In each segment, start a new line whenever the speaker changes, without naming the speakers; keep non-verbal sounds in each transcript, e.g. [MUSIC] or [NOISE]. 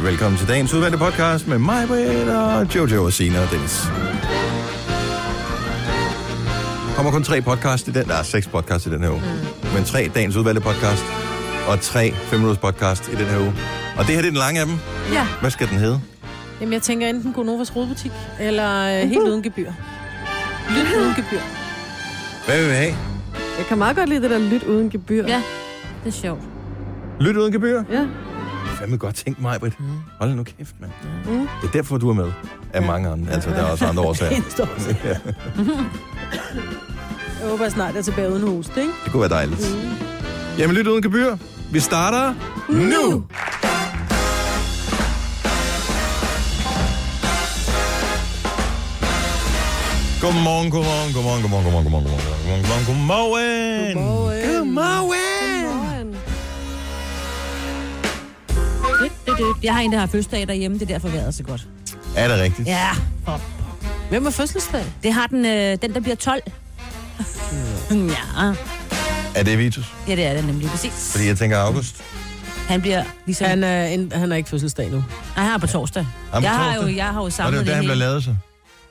Velkommen til dagens udvalgte podcast med mig, Britt og Jojo og Sina og Dennis. Der kommer kun tre podcast i den. Der er seks podcast i den her uge. Mm. Men tre dagens udvalgte podcast og tre fem minutters podcast i den her uge. Og det her det er den lange af dem.
Ja.
Hvad skal den hedde?
Jamen, jeg tænker enten Gonovas rodbutik, eller øh, helt uden gebyr. Lidt uden gebyr.
Hvad vil vi have?
Jeg kan meget godt lide det der lyt uden gebyr.
Ja, det er [LAUGHS] sjovt.
Lyt uden gebyr?
ja.
Fandme godt tænkt mig, Britt. Hold nu kæft, mand. Det er derfor, du er med. Af mange andre. Altså, der er også andre
[LAUGHS]
årsager.
En stor årsag.
Ja.
Jeg håber, jeg snart er tilbage uden host, ikke?
Det kunne være dejligt. Jamen, lyt uden gebyr. Vi starter nu! Godmorgen, godmorgen, godmorgen, godmorgen, godmorgen, godmorgen, godmorgen, godmorgen, godmorgen, godmorgen. Godmorgen.
[LAUGHS] Jeg har en, der har fødselsdag derhjemme, det er derfor vejret er så godt.
Er det rigtigt?
Ja,
Hvem er fødselsdag?
det har den, øh, den der bliver 12. [LAUGHS] ja,
Er det Vitus?
ja, det er det nemlig præcis.
Fordi jeg tænker august.
Han bliver ligesom... Han,
Han er, en, han er ikke fødselsdag nu.
nej, han er på torsdag.
på
jeg, har jo,
torsdag?
jeg har jo
Nå, det
samlet
er jo
det,
der, han
hele.
bliver lavet så.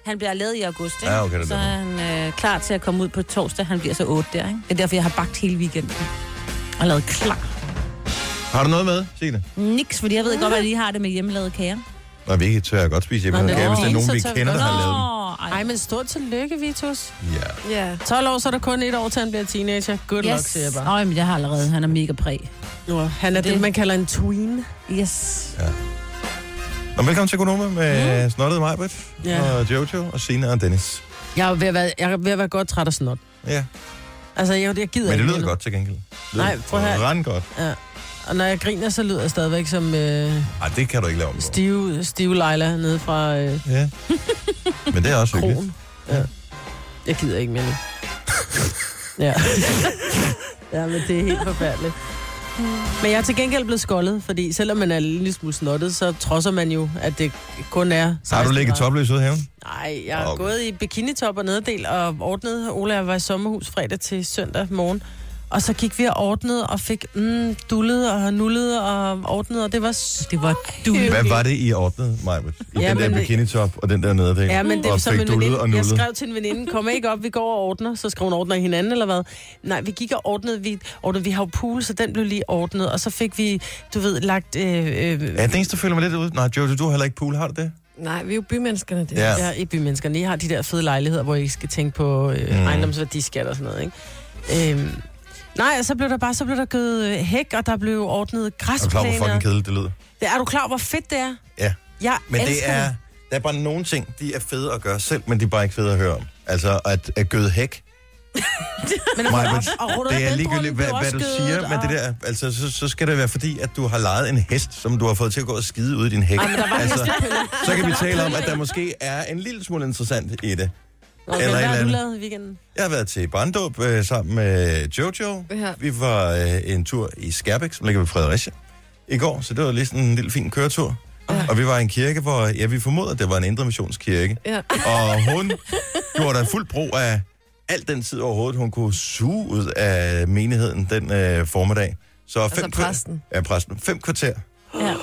han bliver lavet i august, ikke?
Ja, okay, det er
så
derfor.
er han øh, klar til at komme ud på torsdag. Han bliver så 8 der, ikke? Det er derfor, jeg har bagt hele weekenden. Og lavet klar.
Har du noget med, Signe?
Niks, fordi jeg ved godt, hvad de har det med hjemmelavede kager.
Nå, vi ikke tør jeg godt spise hjemme.
Nå,
Nå,
nå.
hvis det er nogen, vi
Så tør vi
kender, der har lavet dem.
Nå,
Ej,
ej.
men stort tillykke, Vitus.
Ja.
Ja.
12 år, så er der kun et år, til han bliver teenager. Good yes. luck, siger jeg
Yes.
bare.
Nå, men jeg har allerede. Han er mega præg.
Nå, han er det,
Det-
man kalder en tween.
Yes.
Nå, velkommen til Konoma med mm. Snottet Majbrit,
Ja.
ja. og Jojo, og Sina og Dennis.
Jeg er ved at være, jeg er ved at være godt træt af snot.
Ja,
Altså, jeg, jeg gider
men det
ikke
lyder
mere.
godt til gengæld. Det
Nej, prøv at høre.
Rand godt.
Ja. Og når jeg griner, så lyder jeg stadigvæk som øh,
Ej, det kan du ikke lave om på.
stive, stive Leila nede fra øh,
Ja. Men det er også hyggeligt.
kroen. Ja. Jeg gider ikke
[LAUGHS]
mere nu. ja. [LAUGHS] ja, men det er helt forfærdeligt. Men jeg er til gengæld blevet skoldet, fordi selvom man er en lille smule snottet, så trodser man jo, at det kun er...
Har du
16
ligget
grader.
topløs ude i haven?
Nej, jeg er
Okay.
okay. gået i bikinitop og nederdel og ordnet. Ola og jeg var i sommerhus fredag til søndag morgen. Og så gik vi og ordnede og fik mm, dullet og nullet og ordnet, og det var... s-
Det var du.
Hvad var det, I ordnede, Majbrit? I
Ja,
den der
men-
bikinitop og den der nederdel?
Ja, men det var
og
som
fik
en
dullet og
veninde. Jeg
nullet.
skrev til en veninde, kom ikke op, vi går og ordner. Så skrev hun, ordner I hinanden eller hvad? Nej, vi gik og ordnede, vi, ordnede, vi har jo pool, så den blev lige ordnet. Og så fik vi, du ved, lagt... Øh, øh,
Ja, den eneste, der føler mig lidt ud. Nej, Jojo, du har heller ikke pool, har du det?
Nej, vi er jo bymenneskerne, det.
Ja.
Ja, i bymenneskerne. I har de der fede lejligheder, hvor I ikke skal tænke på øh,
Mm.
mm. ejendomsværdiskat og sådan noget, ikke? Øhm, nej, og så blev der bare så blev der gået øh, hæk, og der blev ordnet
Er du klar, hvor
græsplæner.
fucking kedeligt det lyder?
Det- Er du klar, hvor fedt det er?
Ja.
Jeg
Men det
elsker
er, der er bare nogle ting, de er fede at gøre selv, men de er bare ikke fede at høre om. Altså at, at gøde hæk,
Men at
Maja,
rydde op- og rydde op
det er
i
ligegyldigt,
Velbrunn, det er
hvad, hvad
også
du
skødet,
siger, men
og-
det der, altså, så, så skal det være fordi, at du har lejet en hest, som du har fået til at gå og skide ud i din hæk.
Ej, men der var
altså,
hestepiller.
så kan
[LAUGHS]
vi
Der var
tale om, at
piller
der
i.
måske er en lille smule interessant i det.
Okay,
eller et
hvad har
eller
du
andet.
lavet i weekenden?
Jeg har været til Barndåb øh, sammen med Jojo.
Ja.
Vi var øh, en tur i Skærbæk, som ligger ved Fredericia, i går, så det var lige sådan en lille fin køretur. Og vi var i en kirke, hvor ja, vi formoder, at det var en indre missionskirke.
Ja.
Og hun gjorde der fuld brug af al den tid overhovedet, hun kunne suge ud af menigheden den øh, formiddag. Så fem kva-
Altså præsten.
Ja, præsten. Fem kvarter.
Ja.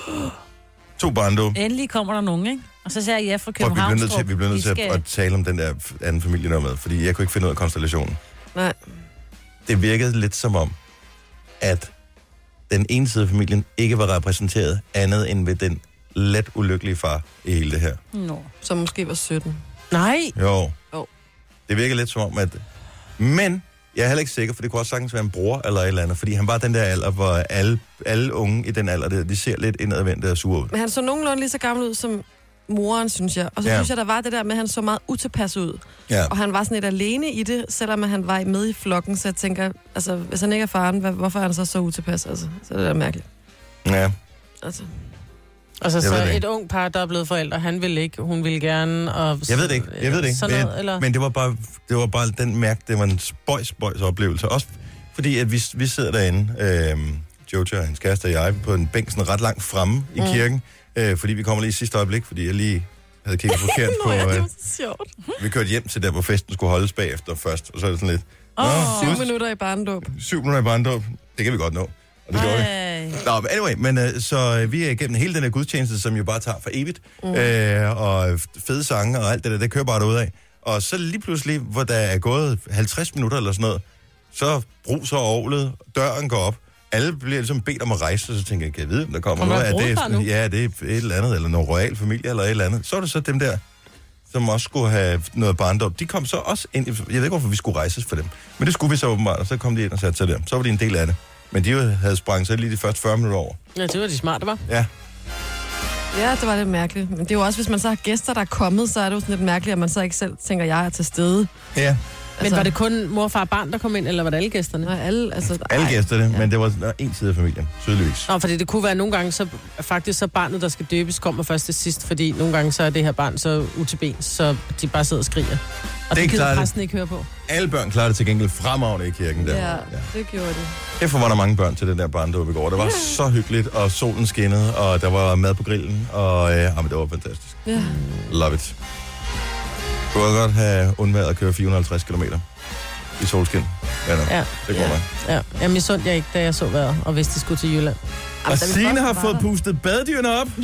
To barndåb.
Endelig kommer der nogen, ikke? Og så sagde jeg ja fra
Prøv, vi
København.
bliver nødt til, vi bliver nødt til at, at tale om den der f- anden familie der med, fordi jeg kunne ikke finde ud af konstellationen.
Nej.
Det virkede lidt som om, at den ene side af familien ikke var repræsenteret andet end ved den let ulykkelige far i hele det her.
Nå.
Som måske var 17.
Nej,
Jo.
Jo.
Det virker lidt som om, at... Men jeg er heller ikke sikker, for det kunne også sagtens være en bror eller et eller andet, fordi han var den der alder, hvor alle, alle unge i den alder, der, de ser lidt indadvendte og sure ud.
Men han så nogenlunde lige så gammel ud som moren, synes jeg. Og så
Ja.
ja. synes jeg, der var det der med, at han så meget utilpas ud.
Ja.
Og han var sådan lidt alene i det, selvom han var med i flokken. Så jeg tænker, altså, hvis han ikke er faren, hvad, hvorfor er han så så utilpas? Altså, så er det da mærkeligt.
ja.
Altså.
altså
Jeg ved
så
det ikke.
et ung par, der er blevet forældre, han vil ikke, hun vil gerne, og...
Jeg ved det ikke, jeg ved det ikke.
Sådan noget,
men,
eller?
men det var bare, det var bare den mærke, det var en spøjs, spøjs oplevelse. Også fordi, at vi, vi sidder derinde, øh, Jojo og hans kæreste og jeg, på en bænk sådan ret langt fremme i
Mm.
kirken, øh, fordi vi kommer lige i sidste øjeblik, fordi jeg lige
[LAUGHS]
havde kigget forkert på... Øh,
så sjovt.
vi kørte hjem til der, hvor festen skulle holdes bagefter først, og så er det sådan lidt... Åh,
Syv minutter i barndåb.
syv minutter i barndom, det kan vi godt nå. Og det gjorde vi.
Ej.
Nå, men anyway, men øh, så øh, vi er igennem hele den her gudstjeneste, som jo bare tager for evigt, mm. øh, og fede sange og alt det der, det kører bare derudad. Og så lige pludselig, hvor der er gået 50 minutter eller sådan noget, så bruser ovlet, døren går op, alle bliver ligesom bedt om at rejse, og så tænker jeg, kan jeg vide, om der kommer
Kommer
noget?
der
Er det,
brudepar nu?
ja, det er et eller andet, eller noget royal familie, eller et eller andet. Så er det så dem der, som også skulle have noget barndom. De kom så også ind, i- jeg ved ikke, hvorfor vi skulle rejses for dem, men det skulle vi så åbenbart, og så kom de ind og satte sig der. Så var de en del af det. Men de jo havde sprang så lige de første 40 minutter over.
Ja, det var de smarte, var.
Ja,
Ja, det var lidt mærkeligt. Men det er jo også, hvis man så har gæster, der er kommet, så er det jo sådan lidt mærkeligt, at man så ikke selv tænker, at jeg er til stede. Altså,
ja.
Men var det kun mor, far og barn, der kom ind, eller var det alle gæsterne?
Nå, alle, altså,
Alle
ej.
gæster det,
Ja.
men det var der var en side af familien, tydeligvis.
Nå, fordi det kunne være nogle gange, så faktisk så barnet, der skal døbes, kommer først til sidst, fordi nogle gange så er det her barn så utilben, så de bare sidder og skriger. Og det,
Det er
det gider
klart.
præsten ikke høre på.
Alle børn klarede det til gengæld fremragende i kirken der.
Ja, det gjorde det.
Derfor var der mange børn til den der barndåb i går. Det var så hyggeligt, og solen skinnede, og der var mad på grillen, og øh, jamen, det var fantastisk.
Ja.
Love it. Du kunne godt have undværet at køre 450 km i solskin. Ja, no,
Ja.
det går
Ja.
nok.
Ja, jeg misundte jeg ikke, da jeg så vejret, og hvis de skulle til Jylland.
da
Og
vi
Signe
først
har
var
fået
der-
pustet baddyrene op.
Ja!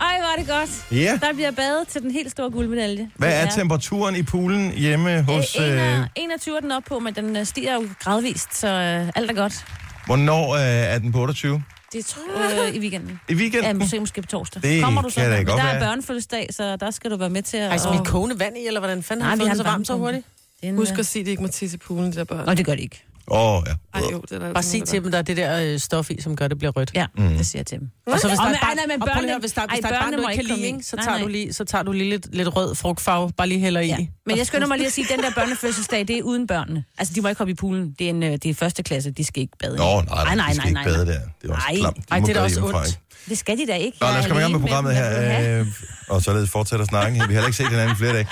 Ej, var det godt.
Ja.
Der bliver badet til den helt store guldmedalje.
Hvad er
Ja.
temperaturen i poolen hjemme hos...
Øh, en
Øh,
er- 21 er den op på, men den øh, stiger jo gradvist, så øh, alt er godt.
hvornår øh, er den på 28?
Det tror øh, i weekenden.
I
Ja,
weekenden?
måske, måske på torsdag.
Det
Kommer du så?
kan da
Men
godt
der
være.
er børnefødselsdag, så der skal du være med til at...
Ej, skal vi kogende vand i, eller hvordan fanden
Nej,
har
vi
vi fået
har
den så
en
varmt så
varmepumpe.
hurtigt?
Det er en,
Husk
øh,
at sige, at de ikke må tisse i poolen, de der børn.
Nå, det gør det ikke.
Åh, oh, ja.
Ej, jo, det er der
Bare sig til dem, der er det der øh, stof i, som gør, det bliver rødt.
Ja, mm. det siger jeg til dem.
Og så hvis der er
Åh, men
et barn,
ej, nej, men
og prøv lige at
børnene-
høre, hvis der, hvis
ej,
der er et barn,
børnene
du
må
ikke kan
ikke
lide,
komme
ikke,
i.
så,
Nej,
tager
nej.
du lige, så tager du lige lidt, lidt rød frugtfarve, bare lige hælder
Ja.
i.
Men jeg skynder mig lige at sige, at den der børnefødselsdag, det er uden børnene. Altså, de må ikke hoppe i poolen. Det er, en, øh, det er første klasse, de skal ikke bade.
Nå, nej,
Ej,
nej, nej, de skal ikke bade der. Det var
Nej.
også klamt. De
Ej,
må
det er da
bade
også
hjemmefra,
ondt.
ikke?
Det skal de da ikke.
Nå,
Jeg
lad os
er
komme i gang med
alene
programmet
dem.
her.
Hvad vil du [LAUGHS] have?
Øh, og således fortsætter snakken. Vi har heller ikke set hinanden i flere dage.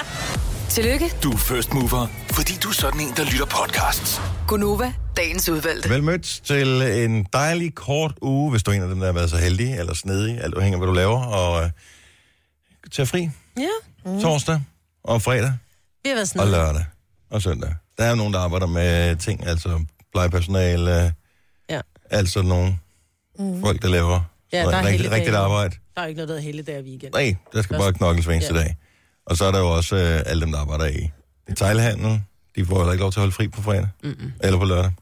Tillykke,
Du er first mover, fordi du er sådan en, der lytter podcasts.
Gunova, dagens udvalgte.
Velmødt til en dejlig kort uge, hvis du er en af dem, der har været så heldig eller snedig, alt afhænger af, hvad du laver, og øh, tage fri
Ja,
torsdag og fredag
vi har været
og
sådan.
lørdag og søndag. Der er jo nogen, der arbejder med ting, altså plejepersonale, øh,
Ja.
altså nogle mm. folk, der laver
Ja,
sådan
der er
rigtig,
helligdage.
rigtigt arbejde.
Der er jo ikke noget, der hedder hele dag og weekend.
Nej, der skal
Også-
bare knokles hver eneste ja.
Ja.
dag. Og så er der jo også øh, alle dem, der arbejder i detailhandel. De får heller ikke lov til at holde fri på fredag. Mm-mm. Eller på lørdag.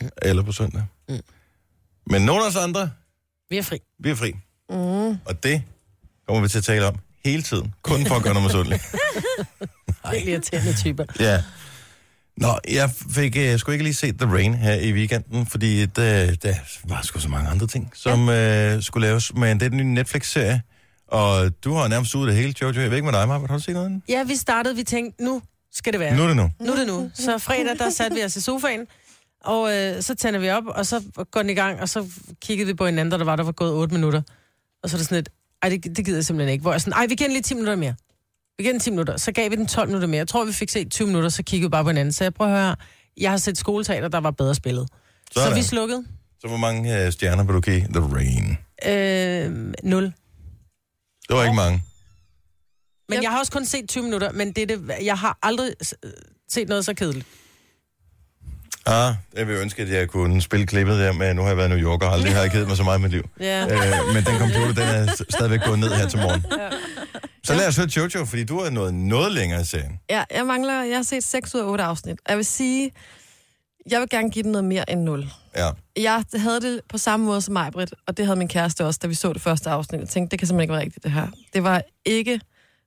Mm. Eller på søndag. Mm. Men nogle af os andre,
Vi er fri.
vi er fri. Mm. Og det kommer vi til at tale om hele tiden. Kun for at gøre noget misundeligt. [LAUGHS]
Det er irriterende typer.
Ja. Nå, jeg fik øh, sgu ikke lige set The Rain her i weekenden, fordi der, der var sgu så mange andre ting, som ja. øh, skulle laves. Men det er den nye Netflix-serie, og du har nærmest ude det hele, Jojo. Jeg ved ikke med dig, Marbert. Har du set noget af den?
Ja, vi startede, vi tænkte, nu skal det være.
Nu er det nu.
Nu er det nu. Så fredag, der satte vi os i sofaen, og øh, så tænder vi op, og så går den i gang, og så kiggede vi på hinanden, og der var, der var gået 8 minutter. Og så er det sådan lidt, ej, det, det gider jeg simpelthen ikke. Hvor jeg sådan, ej, vi giver den lige 10 minutter mere. Vi giver den 10 minutter. Så gav vi den 12 minutter mere. Jeg tror, vi fik set 20 minutter, så kiggede vi bare på hinanden. Så jeg prøver at høre, jeg har set skoleteater, der var bedre spillet. Sådan. Så
Sådan.
vi slukkede.
Så hvor mange øh, stjerner vil du give The Rain?
Øh, 0.
Det var ikke mange.
Men
Jeg-
jeg har også kun set 20 minutter, men det er det, jeg har aldrig s- øh, set noget så kedeligt.
Ah, jeg vil ønske, at jeg kunne spille klippet der med, nu har jeg været i New York, og aldrig har jeg kedet mig så meget i mit liv.
Ja.
Øh, men den computer, den er s- stadigvæk gået ned her til morgen. Så lad os høre Jojo, fordi du har nået noget længere i serien.
Ja, jeg mangler... Jeg har set 6 ud af 8 afsnit. Og Jeg vil sige... Jeg vil gerne give den noget mere end 0.
Ja.
Jeg havde det på samme måde som mig, Britt, og det havde min kæreste også, da vi så det første afsnit. Jeg tænkte, det kan simpelthen ikke være rigtigt, det her. Det var ikke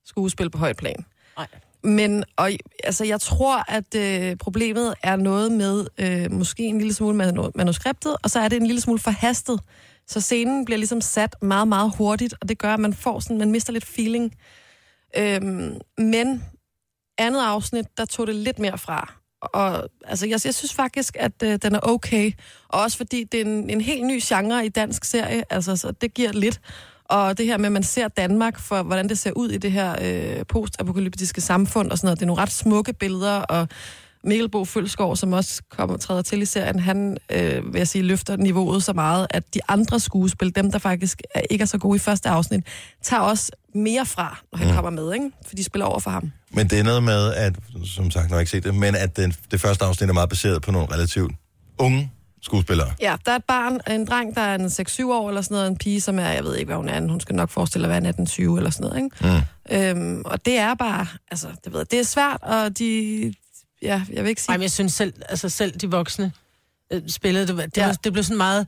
skuespil på højt plan.
Nej.
Men og, altså, jeg tror, at øh, problemet er noget med øh, måske en lille smule manu- manuskriptet, og så er det en lille smule forhastet. Så scenen bliver ligesom sat meget, meget hurtigt, og det gør, at man får sådan, man mister lidt feeling. Øhm, men andet afsnit, der tog det lidt mere fra. Og altså, jeg, jeg synes faktisk, at øh, den er okay. Og også fordi det er en, en helt ny genre i dansk serie, altså, så det giver lidt. Og det her med, at man ser Danmark for, hvordan det ser ud i det her øh, postapokalyptiske samfund og sådan noget. Det er nogle ret smukke billeder, og Mikkel Bo Følsgaard, som også kommer træder til i serien, han, øh, vil jeg sige, løfter niveauet så meget, at de andre skuespil, dem der faktisk er, ikke er så gode i første afsnit, tager også mere fra, når han kommer med, ikke? For de spiller over for ham.
Men det er noget med, at, som sagt, nu har jeg ikke set det, men at den, det første afsnit er meget baseret på nogle relativt unge skuespillere.
Ja, der er et barn, en dreng, der er en 6-7 år eller sådan noget, og en pige, som er, jeg ved ikke, hvad hun er, hun skal nok forestille at være en 18-20 eller sådan noget, ikke? Mm. Øhm, og det er bare, altså, det ved jeg, det er svært, og de, ja, jeg vil ikke sige...
Ej, men jeg synes selv, altså selv de voksne øh, spillede, det, var- det, ja. det blev sådan meget,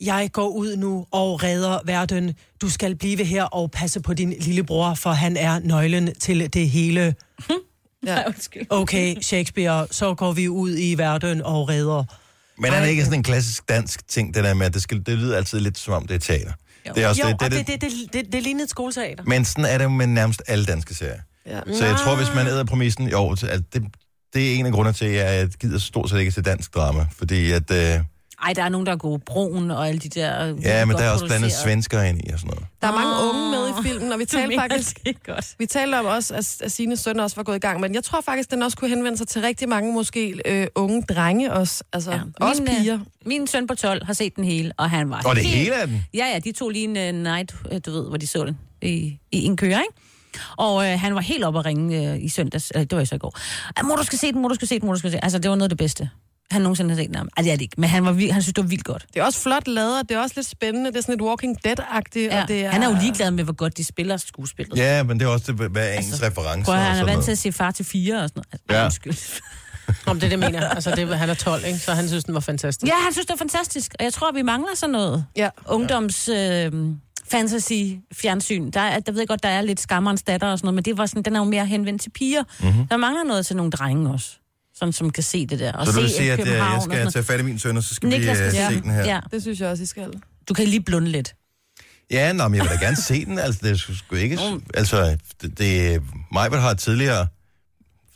jeg går ud nu og redder verden, du skal blive her og passe på din lillebror, for han er nøglen til det hele.
ja.
Undskyld.
[LAUGHS] Okay, Shakespeare, så går vi ud i verden og redder.
Men er det ikke sådan en klassisk dansk ting, det der med, at det, skal, det lyder altid lidt som om, det er teater. Det er også
Jo,
Altså, det, det,
og
det,
det, det, det, det, det lignede et skoleteater.
Men sådan er det jo med nærmest alle danske serier.
Ja.
Så jeg tror, hvis man æder præmissen, jo, så at det, det er en af grunderne til, at jeg gider stort set ikke til dansk drama. Fordi at, øh,
Ej, der er nogen, der er gode. Broen og alle de der... øh,
ja, men
godt
der er også blandet
produceret.
svenskere ind i og sådan noget.
Der er mange unge med i filmen, og vi
Ah, Du
talte
mener
faktisk...
det er godt.
Vi talte om også, at, at Sines søn også var gået i gang, men jeg tror faktisk, den også kunne henvende sig til rigtig mange måske øh, unge drenge også, altså ja. også
Min, øh,
piger.
Min søn på 12 har set den hele, og han var...
Og det
helt-
hele af den.
Ja, ja, de tog lige en uh, night, øh, du ved, hvor de så den, i, i en køre, ikke? Og øh, han var helt oppe at ringe øh, i søndags, eller det var jo så i går. "Ah, Mor, du skal se den, mor, du skal se den, mor, du skal se den. Altså, det var noget af det bedste, han nogensinde har set. Nej, det er det ikke, men han, var vild, han synes, det var vildt godt.
Det er også flot lavet, og det er også lidt spændende. Det er sådan lidt Walking Dead-agtigt.
Ja.
og det
Er... Han er jo ligeglad med, hvor godt de spiller skuespillet.
Ja, men det er også det, hvad er ens altså, referencer
Prøv at, høre,
og
han er
sådan
vant til
noget.
at se far til fire og sådan noget. Altså,
Ja.
ja. undskyld. [LAUGHS]
Om det er det, jeg mener. Altså, det, han er 12, ikke? så han synes, den var fantastisk.
ja, han synes, det var fantastisk, og jeg tror, vi mangler sådan noget.
Ja.
ungdoms øh, fantasy fjernsyn. Der, er- der ved jeg godt, der er lidt skammerens datter og sådan noget, men det var sådan, den er jo mere henvendt til piger.
Mhm.
Mm-hmm. Der mangler noget til nogle drenge også, sådan som kan se det der. Og
Så du
se
vil sige, at øh,
København
jeg
og sådan
skal tage fat i min søn, og så skal
noget.
vi
Niklas
øh,
skal
se
se
den her. Ja,
Ja.
Det synes jeg også, I skal.
Du kan lige blunde lidt.
ja nå, men jeg vil da gerne se den. Altså, det er sgu- sgu ikke... Altså, det, det Majbert har tidligere,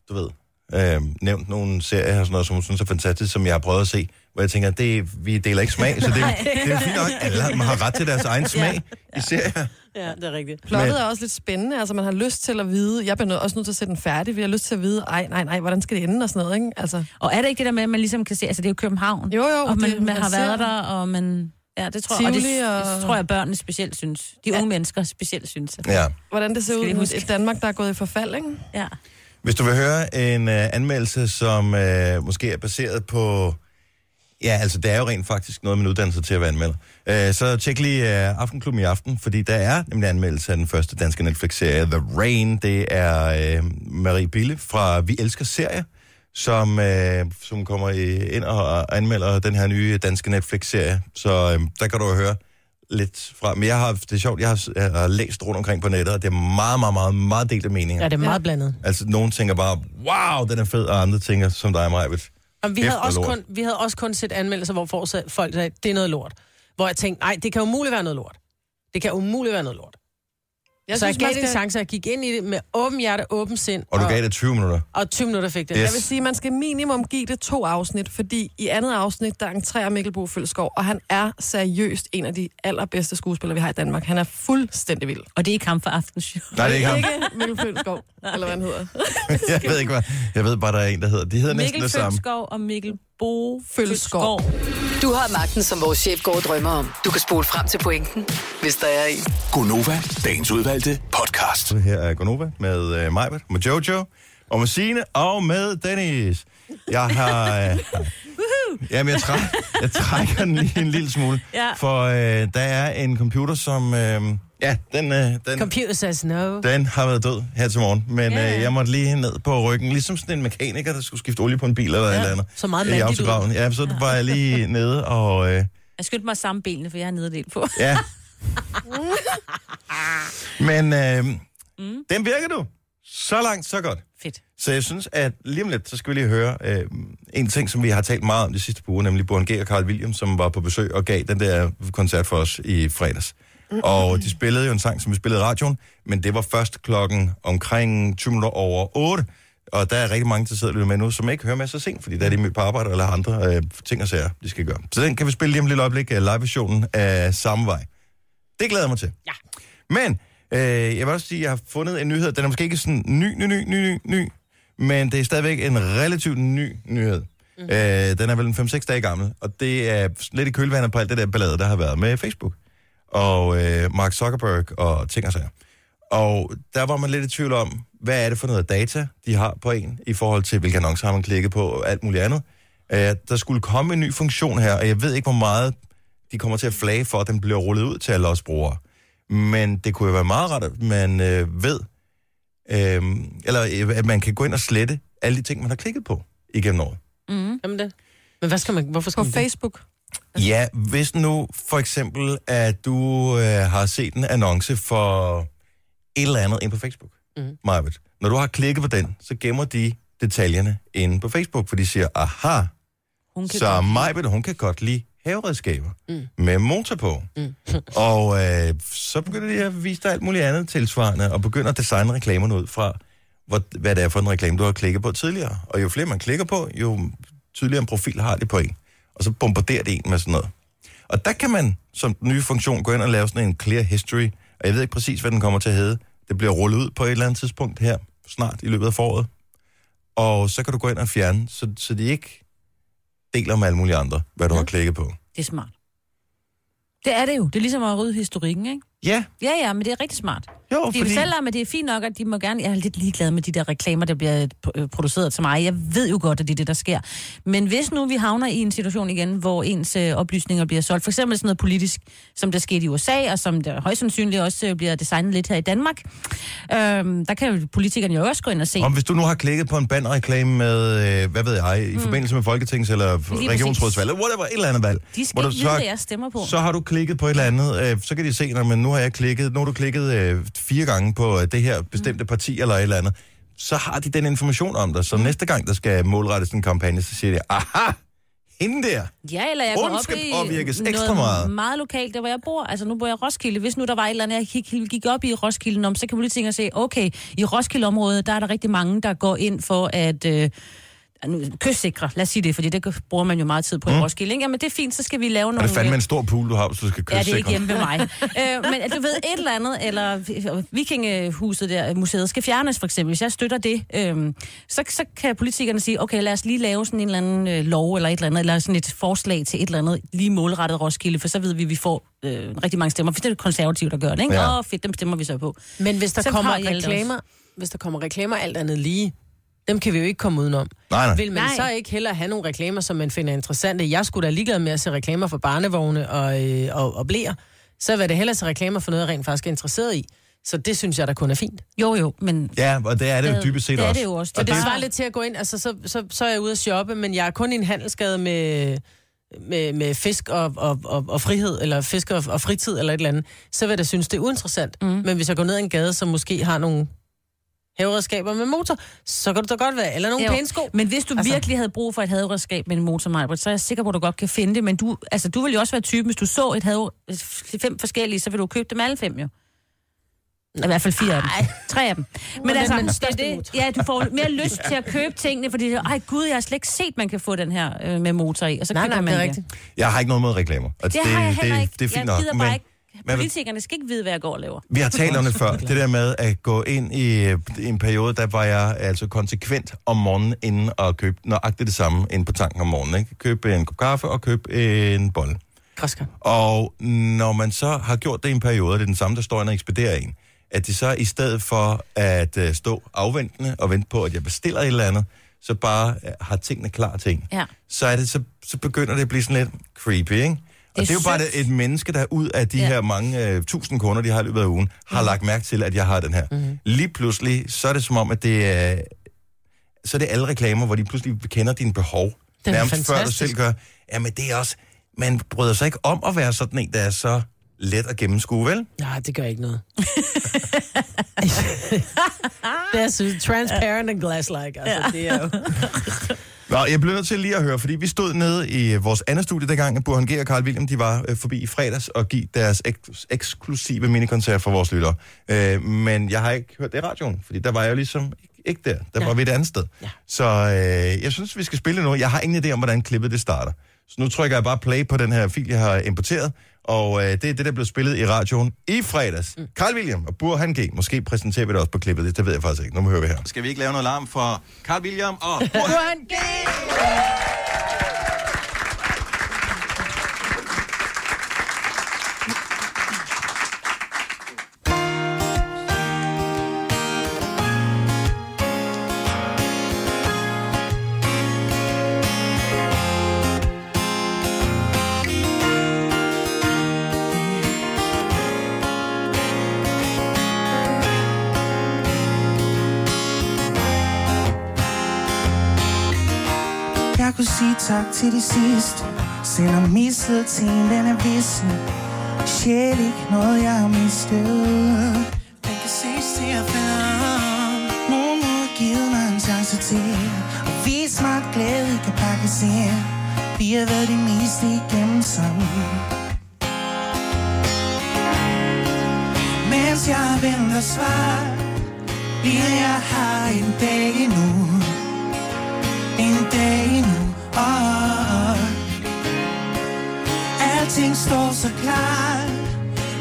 du ved, øh, nævnt nogle serier og sådan noget, som hun synes er fantastisk, som jeg har prøvet at se, hvor jeg tænker, det, vi deler ikke smag, så det, det er fint nok. Alle har- man har ret til deres egen smag i serier.
Ja, det er rigtigt.
Plottet
Men-
er også lidt spændende. Altså, man har lyst til at vide... Jeg bliver nød- også nødt til at sætte den færdig. Vi har lyst til at vide, ej, nej, nej, hvordan skal det ende og sådan noget, ikke? Altså,
Og er det ikke det der med, at man ligesom kan se, altså det er jo København,
Jo, jo,
og man,
det-
man har
man ser
været
det.
der, og man... Ja, det tror jeg, og det,
Tivoli og-
det tror jeg, børnene specielt synes. De unge mennesker specielt synes. at-
Ja.
hvordan det ser
Skal
ud
I
i
huske?
et Danmark, der er gået i forfald, ikke?
Ja.
Hvis du vil høre en øh, anmeldelse, som øh, måske er baseret på... Ja, altså, det er jo rent faktisk noget med en uddannelse til at være anmelder. Øh, så tjek lige øh, Aftenklubben i aften, fordi der er nemlig anmeldelse af den første danske Netflix-serie, The Rain. Det er øh, Marie Bille fra Vi Elsker Serie, som, øh, som kommer øh, ind og anmelder den her nye danske Netflix-serie. Så øh, der kan du jo høre lidt fra. Men jeg har, det er sjovt, jeg har, jeg har læst rundt omkring på nettet, og det er meget, meget, meget, meget delte meninger.
Ja, det er meget blandet.
Altså, nogen tænker bare, wow, den er fed, og andre tænker, som dig, Majbet.
Jamen, vi,
Kæft,
havde
hvor
også
lort.
kun, vi havde også kun set anmeldelser, hvor folk sagde, folk sagde, det er noget lort. Hvor jeg tænkte, nej, det kan umuligt være noget lort. Det kan umuligt være noget lort. Jeg så synes, jeg gav det en chance, og jeg gik ind i det med åben hjerte, åben sind,
Og du gav
og,
det 20 minutter.
og 20 minutter fik det.
Yes.
Yes.
Jeg vil sige, at man skal minimum give det to afsnit, fordi i andet afsnit, der entrerer Mikkel Bo Følskov, og han er seriøst en af de allerbedste skuespillere, vi har i Danmark. Han er fuldstændig vild.
Og det er ikke ham for aftenshow.
Nej, det er ikke ham.
Ikke Mikkel Følskov, eller hvad han hedder.
[LAUGHS] Jeg ved ikke, hvad. Jeg ved bare, der er en, der hedder. De hedder næsten
Mikkel
det samme.
Følskov og Mikkel Bo
Følskov.
Følskov.
Du har magten, som vores chef går og drømmer om. Du kan spole frem til pointen, hvis der er en.
Gonova, dagens udvalgte podcast.
Så her er Gonova med øh, Majbet, med Jojo, og med Signe, og med Dennis. Jeg har... Øh, jamen, jeg, træk, jeg trækker den lige en lille smule.
Ja.
For øh, der er en computer, som... Øh, ja, den, øh, den,
Computer says no.
Den har været død her til morgen, men
Ja,
yeah.
ja.
øh, jeg måtte lige ned på ryggen, ligesom sådan en mekaniker, der skulle skifte olie på en bil eller ja. et eller andet.
så meget
I
mandigt ud.
autograven. Ja, så var jeg lige nede og... Øh,
Jeg skyndte mig at samle benene, for jeg har nederdel på. [LAUGHS]
ja. men øh, mm. den virker du. Så langt, så godt.
Fedt.
Så jeg synes, at lige om lidt, så skal vi lige høre øh, en ting, som vi har talt meget om de sidste par uger, nemlig Burhan G. og Carl William, som var på besøg og gav den der koncert for os i fredags. Og de spillede jo en sang, som vi spillede i radioen, men det var først klokken omkring 20 minutter over 8. Og der er rigtig mange, der sidder og lytter med nu, som ikke hører med så sent, fordi der er de mødt på arbejde eller har andre øh, ting og sager, de skal gøre. Så den kan vi spille lige om et lille øjeblik, øh, live-versionen af samme vej. Det glæder jeg mig til. Ja. Men øh, jeg vil også sige, at jeg har fundet en nyhed. Den er måske ikke sådan ny, ny, ny, ny, ny, ny. Men det er stadigvæk en relativt ny nyhed. Mm. Øh, den er vel en 5-6 dage gammel. Og det er lidt i kølvandet på alt det der ballade, der har været med Facebook. Og øh, Mark Zuckerberg og ting og sager. Og der var man lidt i tvivl om, hvad er det for noget data, de har på en, i forhold til, hvilke annoncer har man klikket på og alt muligt andet. Øh, der skulle komme en ny funktion her, og jeg ved ikke, hvor meget de kommer til at flage for, at den bliver rullet ud til alle os brugere. Men det kunne jo være meget rart, at man øh, ved, øh, eller øh, at man kan gå ind og slette alle de ting, man har klikket på igennem året.
Jamen det. Men hvad skal man, hvorfor skal
På
man det?
Facebook.
Ja, hvis nu for eksempel, at du øh, har set en annonce for et eller andet ind på Facebook, mm. Marvitt. Når du har klikket på den, så gemmer de detaljerne inde på Facebook, for de siger, aha,
Hun kan
så Majbet, hun kan godt lide haveredskaber mm. med motor på. Mm. [LAUGHS] og øh, så begynder de at vise dig alt muligt andet tilsvarende, og begynder at designe reklamerne ud fra, hvor, hvad det er for en reklame, du har klikket på tidligere. Og jo flere man klikker på, jo tydeligere en profil har det på en. Og så bombarderer det en med sådan noget. Og der kan man som den nye funktion gå ind og lave sådan en clear history, og jeg ved ikke præcis, hvad den kommer til at hedde. Det bliver rullet ud på et eller andet tidspunkt her, snart i løbet af foråret. Og så kan du gå ind og fjerne, så, så de ikke deler med alle mulige andre, hvad du ja. har klikket på.
Det er smart. Det er det jo. Det er ligesom at rydde historikken, ikke?
Ja,
Ja, ja, men det er rigtig smart.
jo,
De
fordi...
Fordi... selvom at det er fint nok, at de må gerne... Jeg er lidt ligeglad med de der reklamer, der bliver øh, produceret til mig. Jeg ved jo godt, at det er det, der sker. Men hvis nu vi havner i en situation igen, hvor ens øh, oplysninger bliver solgt, for eksempel sådan noget politisk, som der skete i USA, og som der højst sandsynligt også øh, bliver designet lidt her i Danmark, øhm, der kan jo politikerne jo også gå ind og se.
Om hvis du nu har klikket på en bannerreklame med, øh, hvad ved jeg, i mm. forbindelse med Folketings- eller
præcis.
regionsrådsvalg, eller whatever, et eller andet valg.
De skal
hvor
ikke
du
vide, hvad jeg stemmer på.
Så har du klikket på et eller andet, øh, så kan de se, når man nu har jeg klikket, nu har du klikket øh, fire gange på øh, det her
Mm.
bestemte parti eller et eller andet, så har de den information om dig, så næste gang, der skal målrettes en kampagne, så siger de, aha, hende der,
Ja, eller jeg
Hun
går op
skal
i
påvirkes
noget
ekstra meget.
meget lokalt, der hvor jeg bor. Altså nu bor jeg i Roskilde. Hvis nu der var et eller andet, jeg gik, gik op i Roskilde, om, så kan politikere se, okay, i Roskilde-området, der er der rigtig mange, der går ind for at... Øh, nu, kystsikre, lad os sige det, fordi det gør- bruger man jo meget tid på mm. i Roskilde. Ikke? Jamen det er fint, så skal vi lave
og
nogle... øh,
det er fandme en stor pool, du har, så du skal
Ja,
kysse
det er ikke hjemme ved mig. øh, men at du ved, et eller andet, eller vi- vikingehuset der, museet, skal fjernes for eksempel. Hvis jeg støtter det, øh, så, så kan politikerne sige, okay, lad os lige lave sådan en eller anden øh, lov, eller et eller andet, eller sådan et forslag til et eller andet, lige målrettet Roskilde, for så ved vi, at vi får øh, rigtig mange stemmer. For det er det konservative, der gør det, ikke?
Ja.
Ja. Åh, fedt, dem stemmer vi så på.
Men hvis der
Sådan
kommer
har I alt også.
reklamer, hvis der kommer reklamer alt andet lige, dem kan vi jo ikke komme udenom.
Nej, nej.
Vil man
Nej.
så ikke heller have nogle reklamer, som man finder interessante? Jeg skulle da ligeglad med at se reklamer for barnevogne og, øh, og, og blæer. Så vil det hellere se reklamer for noget, jeg rent faktisk er interesseret i. Så det synes jeg, der kun er fint.
Jo, jo, men...
Ja, og det er det jo dybest set
det er
også.
det jo også.
Og det
bare-
svarer lidt til at gå ind, altså så, så, så er jeg ude at shoppe, men jeg er kun i en handelsgade med, med, med fisk og, og, og, og frihed, eller fisk og, og fritid, eller et eller andet, så vil jeg da synes, det er uinteressant. Mm. Men hvis jeg går ned ad en gade, som måske har nogle haveredskaber med motor, så kan det da godt være, eller nogle
Jo.
pæne sko.
Men hvis du altså...
Altså-
virkelig havde brug for et hadredskab med en motormejbrit, så er jeg sikker på, at du godt kan finde det. Men du, altså, du vil jo også være typen, hvis du så et had, fem forskellige, så vil du købe dem alle fem jo. I hvert fald fire af dem. Tre af dem. Men
den
altså,
med den
det,
største
er det,
motor.
ja, du får mere lyst til at købe tingene, fordi ej gud, jeg har slet ikke set, man kan få den her øh, med motor i. Og så
Nej,
køber
nej,
man
det er rigtigt.
Jeg har ikke noget med reklamer. Og
Det, det har jeg heller
det,
ikke.
Det er fint
jeg
nok.
gider
men-
bare ikke.
men-
Politikerne skal ikke vide, hvad jeg går og laver.
Vi har talt om det før, det der med at gå ind i øh, en periode, der var jeg altså konsekvent om morgenen inden at købe nøjagtigt det samme inde på tanken om morgenen. Ikke? Købe en kop kaffe og købe en bolle.
Græskar.
Og når man så har gjort det i en periode, og det er den samme, der står ind og ekspederer en, at de så i stedet for at øh, stå afventende og vente på, at jeg bestiller et eller andet, så bare øh, har tingene klar til en.
Ja.
Så, er det, så, så begynder det at blive sådan lidt creepy, ikke? Og
er
det er jo bare
sødt.
et menneske, der ud af de ja.
Ja.
her mange øh, tusind kunder, de har i løbet af ugen, har mm. lagt mærke til, at jeg har den her. Mm. Lige pludselig, så er det som om, at det er, så er det alle reklamer, hvor de pludselig kender dine behov.
er
nærmest før du
fantastisk.
selv gør. Jamen det er også, man bryder sig ikke om at være sådan en, der er så let at gennemskue, vel?
Nej, det gør ikke
[LAUGHS]
noget. det er så transparent and glass-like. Altså, det er
[LAUGHS]
jo...
Nå, jeg bliver nødt til lige at høre, fordi vi stod nede i øh, vores andet studie dengang, Burhan G og Carl William, de var øh, forbi i fredags og gav deres ek- eksklusive minikoncert for vores lyttere. Øh, men jeg har ikke hørt det i radioen, fordi der var jeg jo ligesom ikke- ikke der. Der var vi et andet sted. Så øh, jeg synes, vi skal spille noget. Jeg har ingen idé om, hvordan klippet det starter. Så nu trykker jeg bare play på den her fil, jeg har importeret, og øh, det er det, der blev spillet i radioen i fredags. Mm. Carl William og Burhan G. Måske præsenterer vi det også på klippet. Det, det ved jeg faktisk ikke. Nu hører vi her. Skal vi ikke lave noget larm for Carl William [LAUGHS] og Burhan G?
Burhan skulle sige tak til de sidste Selvom misselten den er vissen Sjæl ikke noget jeg har mistet Den kan ses til at finde Nogen må have givet mig en chance til Og vise mig at glæde kan pakkes ind Vi har været det meste igennem sammen Mens jeg venter svar Bliver jeg har en dag endnu en dag endnu oh. Alting står så klart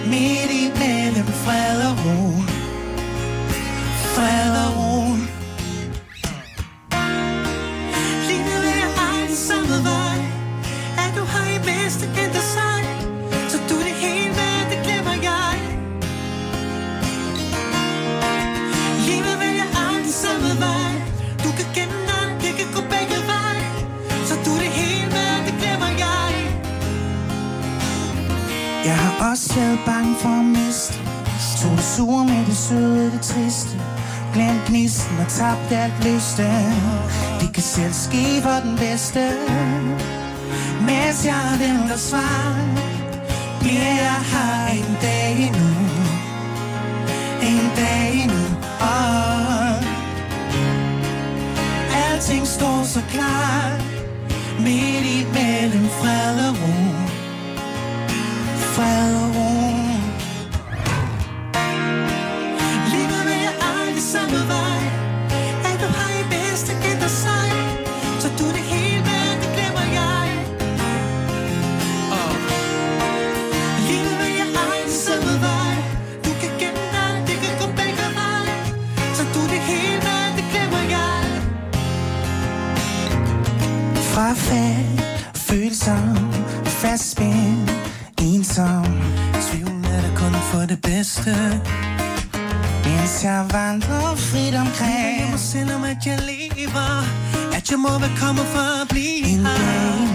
Midt i mellem fred og ro Fred og ro Livet er aldrig samme vej At du har i bedste ændret sig Så du er det hele, hvad det glemmer jeg Livet vælger aldrig samme vej Du kan kende dig, det kan gå begge vej Så du er det hele, hvad det glemmer jeg Jeg har også været bange for at miste Så det sure med det søde, det triste Glemt gnisten og tabt alt lysten Det kan selv ske for den bedste Mens jeg venter svar Bliver jeg her en dag endnu En dag endnu oh. Alting står så klart Midt i mellem fred og ro Fred og ro Livet vil jeg aldrig samme vej At du har i bedste ændret sig Så du er det hele, hvad det glemmer jeg Livet vil jeg aldrig samme vej Du kan gemme dig, det kan gå begge vej Så du er det hele, hvad det glemmer jeg fra fag, følsom, fastspændt, ensom. Tvivlende er der kun for det bedste. Mens jeg vandrer frit omkring. Jeg må selvom at jeg lever, at jeg må være kommet for at blive en her. Dag endnu.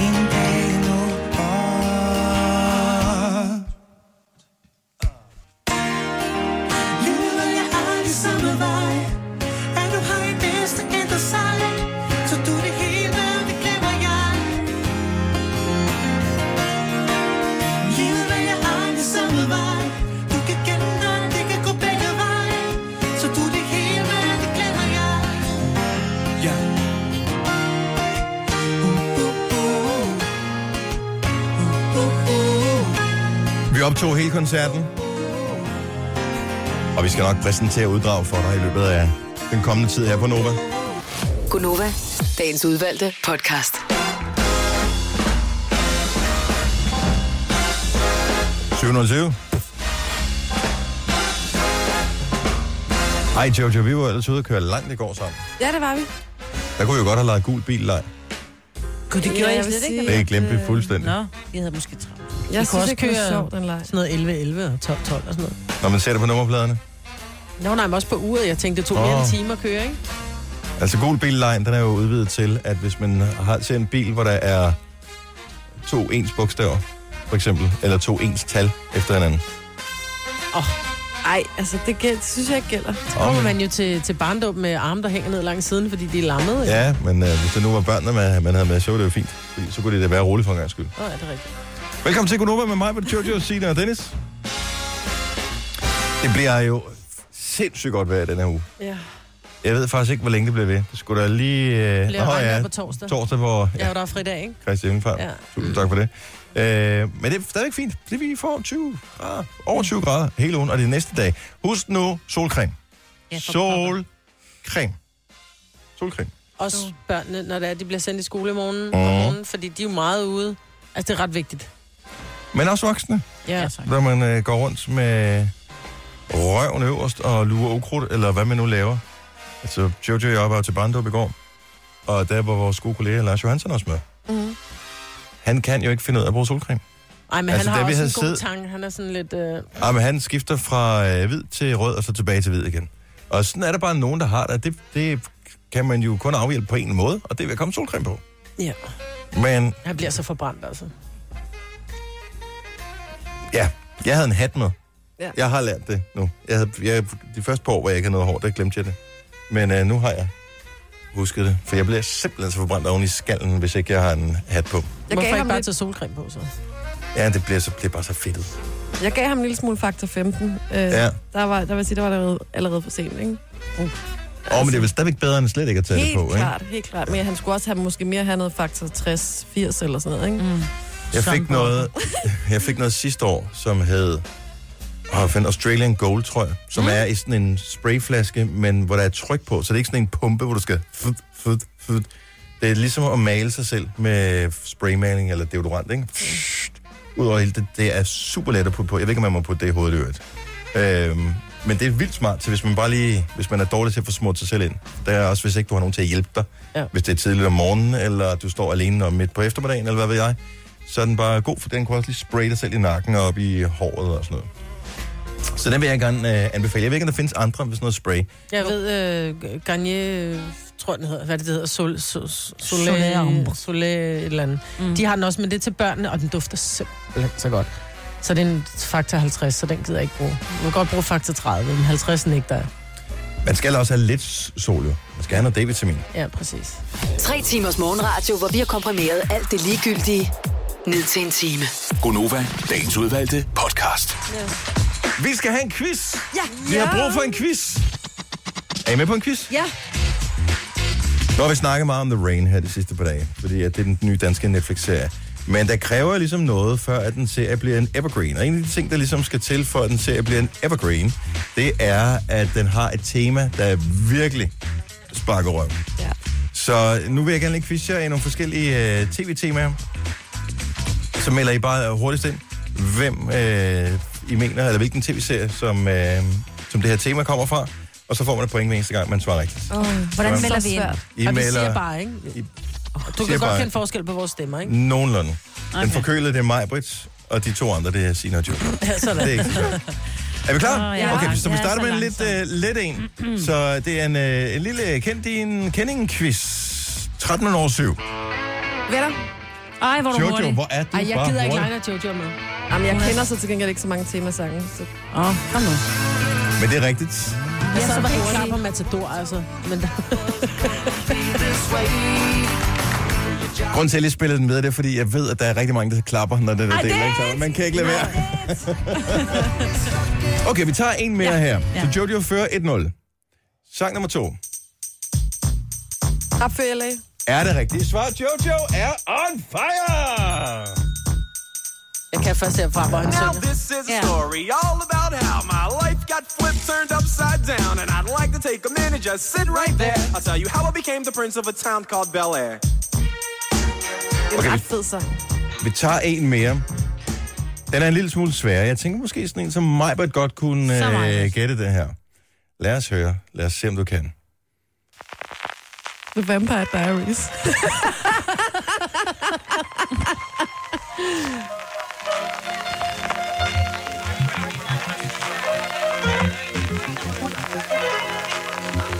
En dag endnu. Åh. Livet er aldrig samme vej Er du har i bedste ændret sig Så du det hele, det glemmer jeg Livet er aldrig samme vej Du kan kende dig, det kan gå begge veje Så du det hele, det glemmer jeg Ja uh, uh, uh. Uh, uh, uh.
Vi optog hele koncerten. Og vi skal nok præsentere uddrag for dig i løbet af den kommende tid her på Nova.
Gunova, dagens udvalgte podcast.
720. Ej, Jojo, vi var ellers ude at køre langt i går sammen.
Ja, det var vi.
Der kunne vi jo godt have lavet gul bil leg.
Gud, det gjorde
Ja,
ja, jeg
jeg vil
slet
sige-
ikke.
Det glemte vi fuldstændig.
Nå, jeg havde måske travlt.
Jeg
kunne
synes
også
ikke, det var
køre-
sjovt, den leg.
Sådan noget 11-11 og 12-12 og sådan noget.
Når man ser det på nummerpladerne.
Nå, nej, men også på uret. Jeg tænkte, det tog
Åh.
mere end en time at køre, ikke?
Altså gul billejen, den er jo udvidet til, at hvis man har, ser en bil, hvor der er to ens bogstaver, for eksempel, eller to ens tal efter hinanden.
Ej, altså, det, gæld, det synes jeg ikke gælder.
Så kommer man jo til, til barndom med arme, der hænger ned langs siden, fordi de er lammede. ikke?
Ja, men øh, hvis det nu var børnene, man, man havde med, så var det jo fint. Fordi så kunne det da være roligt for en gang skyld.
Nå, er det rigtigt.
Velkommen til Konoba med mig, med Jojo, Sina og Dennis. Det bliver jo sindssygt godt vejr den her uge.
Ja.
Jeg ved faktisk ikke, hvor længe det bliver ved. Det skulle da lige... Øh...
Bliver oh,
ja,
ja. på torsdag.
torsdag, hvor
Ja, hvor der er fridag, ikke?
Christian Hjemmefar. Ja.
Ja.
Tusind tak for det. Øh, men det er stadigvæk fint. Det vi får 20 grader, over 20 grader hele ugen, og det er næste dag. Husk nu solcreme.
Ja, for
Solcreme. Solcreme.
Også børnene, når det er, de bliver sendt i skole i morgenen, mm. om morgenen, fordi de er jo meget ude. Altså, det er ret vigtigt.
Men også voksne,
Ja.
Ja,
ja.
tak.
når man øh, går rundt med røven øverst og lurer ukrudt, eller hvad man nu laver. Altså, Jojo og jeg var jo til Brandrup i går, og der var vores gode kollega Lars Johansson også med.
Mm.
Han kan jo ikke finde ud af at bruge solcreme.
Ej, men
Altså,
altså, han
da
har
vi
også en
havde
god
siddet-
tang. Han er sådan lidt... Øh...
Ja, Ah, men han skifter fra øh, hvid til rød, og så tilbage til hvid igen. Og sådan er der bare nogen, der har det. Det, det kan man jo kun afhjælpe på en måde, og det vil jeg komme solcreme på.
Ja.
Men
Han bliver så forbrændt, altså.
ja, jeg havde en hat med.
Ja.
Jeg har lært det nu. Jeg havde, jeg, de første par år, hvor jeg ikke havde noget hår, der glemte jeg det. Men øh, nu har jeg. husket det, for jeg bliver simpelthen så forbrændt oven i skallen, hvis ikke jeg har en hat på.
Jeg gav,
Hvorfor
ham
ikke bare
lidt,
tage solcreme på, så?
Ja, det bliver så bliver bare så fedtet.
jeg gav ham en lille smule faktor 15. Øh,
Ja.
ja. Der var, der vil jeg sige, der var allerede, allerede for sent, ikke?
Åh, oh, men det er vel stadigvæk bedre end slet ikke at tage det
Helt
på,
klart, helt klart. Men han skulle også have måske mere have noget faktor 60, 80 eller sådan noget, ikke? Mm.
ikke? Jeg fik, noget, [LAUGHS] jeg fik noget sidste år, som hed og fandt Australian Gold, tror jeg, som mm. er i sådan en sprayflaske, men hvor der er tryk på, så det er ikke sådan en pumpe, hvor du skal fut, fut, fut. Det er ligesom at male sig selv med spraymaling eller deodorant, ikke? Pssst. Udover hele det, det er super let at putte på. Jeg ved ikke, om man må putte det i hovedet i øvrigt. Øhm, men det er vildt smart til, hvis man bare lige, hvis man er dårlig til at få smurt sig selv ind. Der er også, hvis ikke du har nogen til at hjælpe dig. Ja.
Ja.
Hvis det er tidligt om morgenen, eller du står alene om midt på eftermiddagen, eller hvad ved jeg. Så er den bare god, for den kan også lige spraye dig selv i nakken og op i håret og sådan noget. Så den vil jeg gerne øh, anbefale. Jeg ved ikke, om der findes andre med sådan noget spray.
Jeg ved, øh, Garnier, øh, tror jeg, den hedder, hvad det hedder, Sol, Sol, Sol,
Soleil Ombre.
Soleil, Soleil et eller andet. Mm. De har den også, men det er til børnene, og den dufter simpelthen så godt. Så det er en faktor 50, så den gider jeg ikke bruge. Man kan godt bruge faktor 30, men 50 nægter jeg.
Man skal også have lidt s- sol, jo. Man skal have noget D-vitamin.
Ja, præcis.
Tre timers morgenradio, hvor vi har komprimeret alt det ligegyldige ned til en time.
Gonova, dagens udvalgte podcast.
Vi skal have en quiz!
Ja.
Vi har brug for en quiz! Er I med på en quiz?
Ja,
Nu har vi snakket meget om The Rain her de sidste par dage, fordi at det er den nye danske Netflix-serie. Men der kræver ligesom noget, før at den serie bliver en evergreen. Og en af de ting, der ligesom skal til, for at den serie bliver en evergreen, det er, at den har et tema, der virkelig sparker røven.
Ja.
Så nu vil jeg gerne lige quizze jer i nogle forskellige øh, tv-temaer. Så melder I bare hurtigst ind, hvem øh, I mener, eller hvilken tv-serie, som, øh, som det her tema kommer fra. Og så får man et point hver eneste gang, man svarer rigtigt.
Hvordan
Hvordan
melder
så
vi ind?
svært.
I
og vi
melder-
siger bare, ikke?
I-
Du kan
siger bare- Mm.
godt kende forskel på vores stemmer, ikke?
Nogenlunde. Okay. Den
Okay.
forkølede, det er mig, Brits, og de to andre, det er Sina og Jojo.
Ja,
Det er
sådan.
ikke så svært. Er vi klar?
Åh, ja.
Okay, så vi
Ja,
starter
så
med en lidt, uh, let en. Så det er en, uh, en lille kend din kending quiz. 13 over 7.
venner.
Ej, hvor er du
Jojo,
hurtig.
hvor er du
Ej, jeg
bare
gider ikke
hurtig.
langt at Jojo er med.
Jamen, jeg kender så til gengæld ikke så mange temasange. Så...
Åh, oh, kom nu.
Men det er rigtigt.
Jeg sad var helt klar på Matador, altså. Men der...
Grunden til, at jeg lige spillede den med, det er, fordi jeg ved, at der er rigtig mange, der klapper, når den er del. Ikke? Så Man kan ikke lade være. [LAUGHS] okay, vi tager en mere her. Så Jojo fører 1-0. Sang nummer to.
Rap for LA.
Er det rigtige svar? Jojo er on fire!
Jeg kan først se frem, hvor han
Now
synger.
this is a
Yeah.
story all about how my life got flipped, turned upside down, and I'd like to take a minute, just sit right there. I'll tell you how I became the prince of a town called Bel Air.
Det er
Okay,
en
vi-
ret fed sang.
Vi tager en mere. Den er en lille smule sværere. Jeg tænker måske sådan en, som Majbert godt kunne
Så
øh,
Majbert.
gætte det her. Lad os høre. Lad os se, om du kan.
The Vampire Diaries.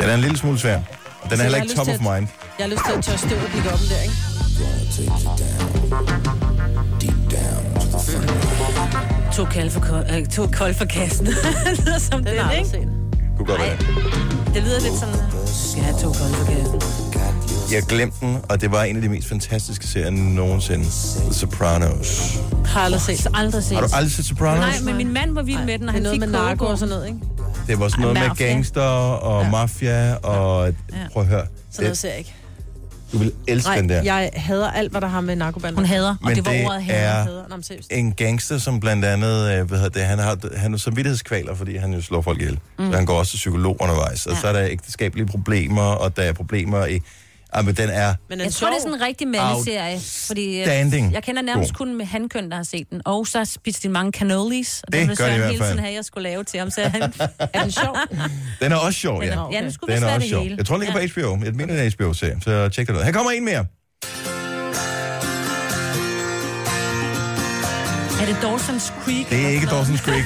Den er en lille smule svær. Og den er
Så
heller
jeg
ikke
har
top
lyst
of
til at-
mind.
Jeg har lyst til at tørre støv og blive op der, ikke?
To kalde for, ko- øh, to kolde for kassen. [LAUGHS] det lyder som det,
Den har jeg
ikke?
aldrig set.
Kunne godt være.
Det lyder lidt sådan... Skal jeg have to kolde for kassen?
Jeg glemte den, og det var en af de mest fantastiske serier nogensinde. The Sopranos.
Har aldrig set.
Så aldrig set.
Har du aldrig set Sopranos?
Nej, men min mand var vild med den, og
Det er
han
noget
fik
med narko
kogebog.
og sådan noget, ikke?
Det var sådan noget med
Mafia.
gangster og mafia og... Prøv at høre.
Sådan noget
Det,
ser jeg ikke.
du vil elske den der.
Nej, jeg hader alt, hvad der har med narkobander.
Hun hader, og
Men
det var
det
ordet hader.
er-
Er...
hader. Nå, men seriøst.
en gangster, som blandt andet, øh, hvad hedder det, han har, han har samvittighedskvaler, fordi han jo slår folk ihjel. Mm. Så han går også til psykolog undervejs. Og ja. så er der ægteskabelige problemer, og der er problemer i... Ej, men den er...
Men
Jeg tror, det er sådan en rigtig mandeserie, fordi øh,
Outstanding.
jeg kender nærmest
God.
kun med handkøn, der har set den. Og så spiste de mange cannolis, og
Det
ville
gør de i
Søren
hvert
hele
fald.
tiden have, jeg skulle lave til ham. Så
[LAUGHS]
han, er den sjov?
Den er også sjov, ja.
Ja, ja den skulle vist
Den er
være
også
det
sjov.
hele.
Jeg tror, den ligger på HBO. Jeg mener, det er en HBO-serie, så tjek det ud. Her kommer en mere.
Er det Dawson's Creek?
Det er ikke Dawson's Creek.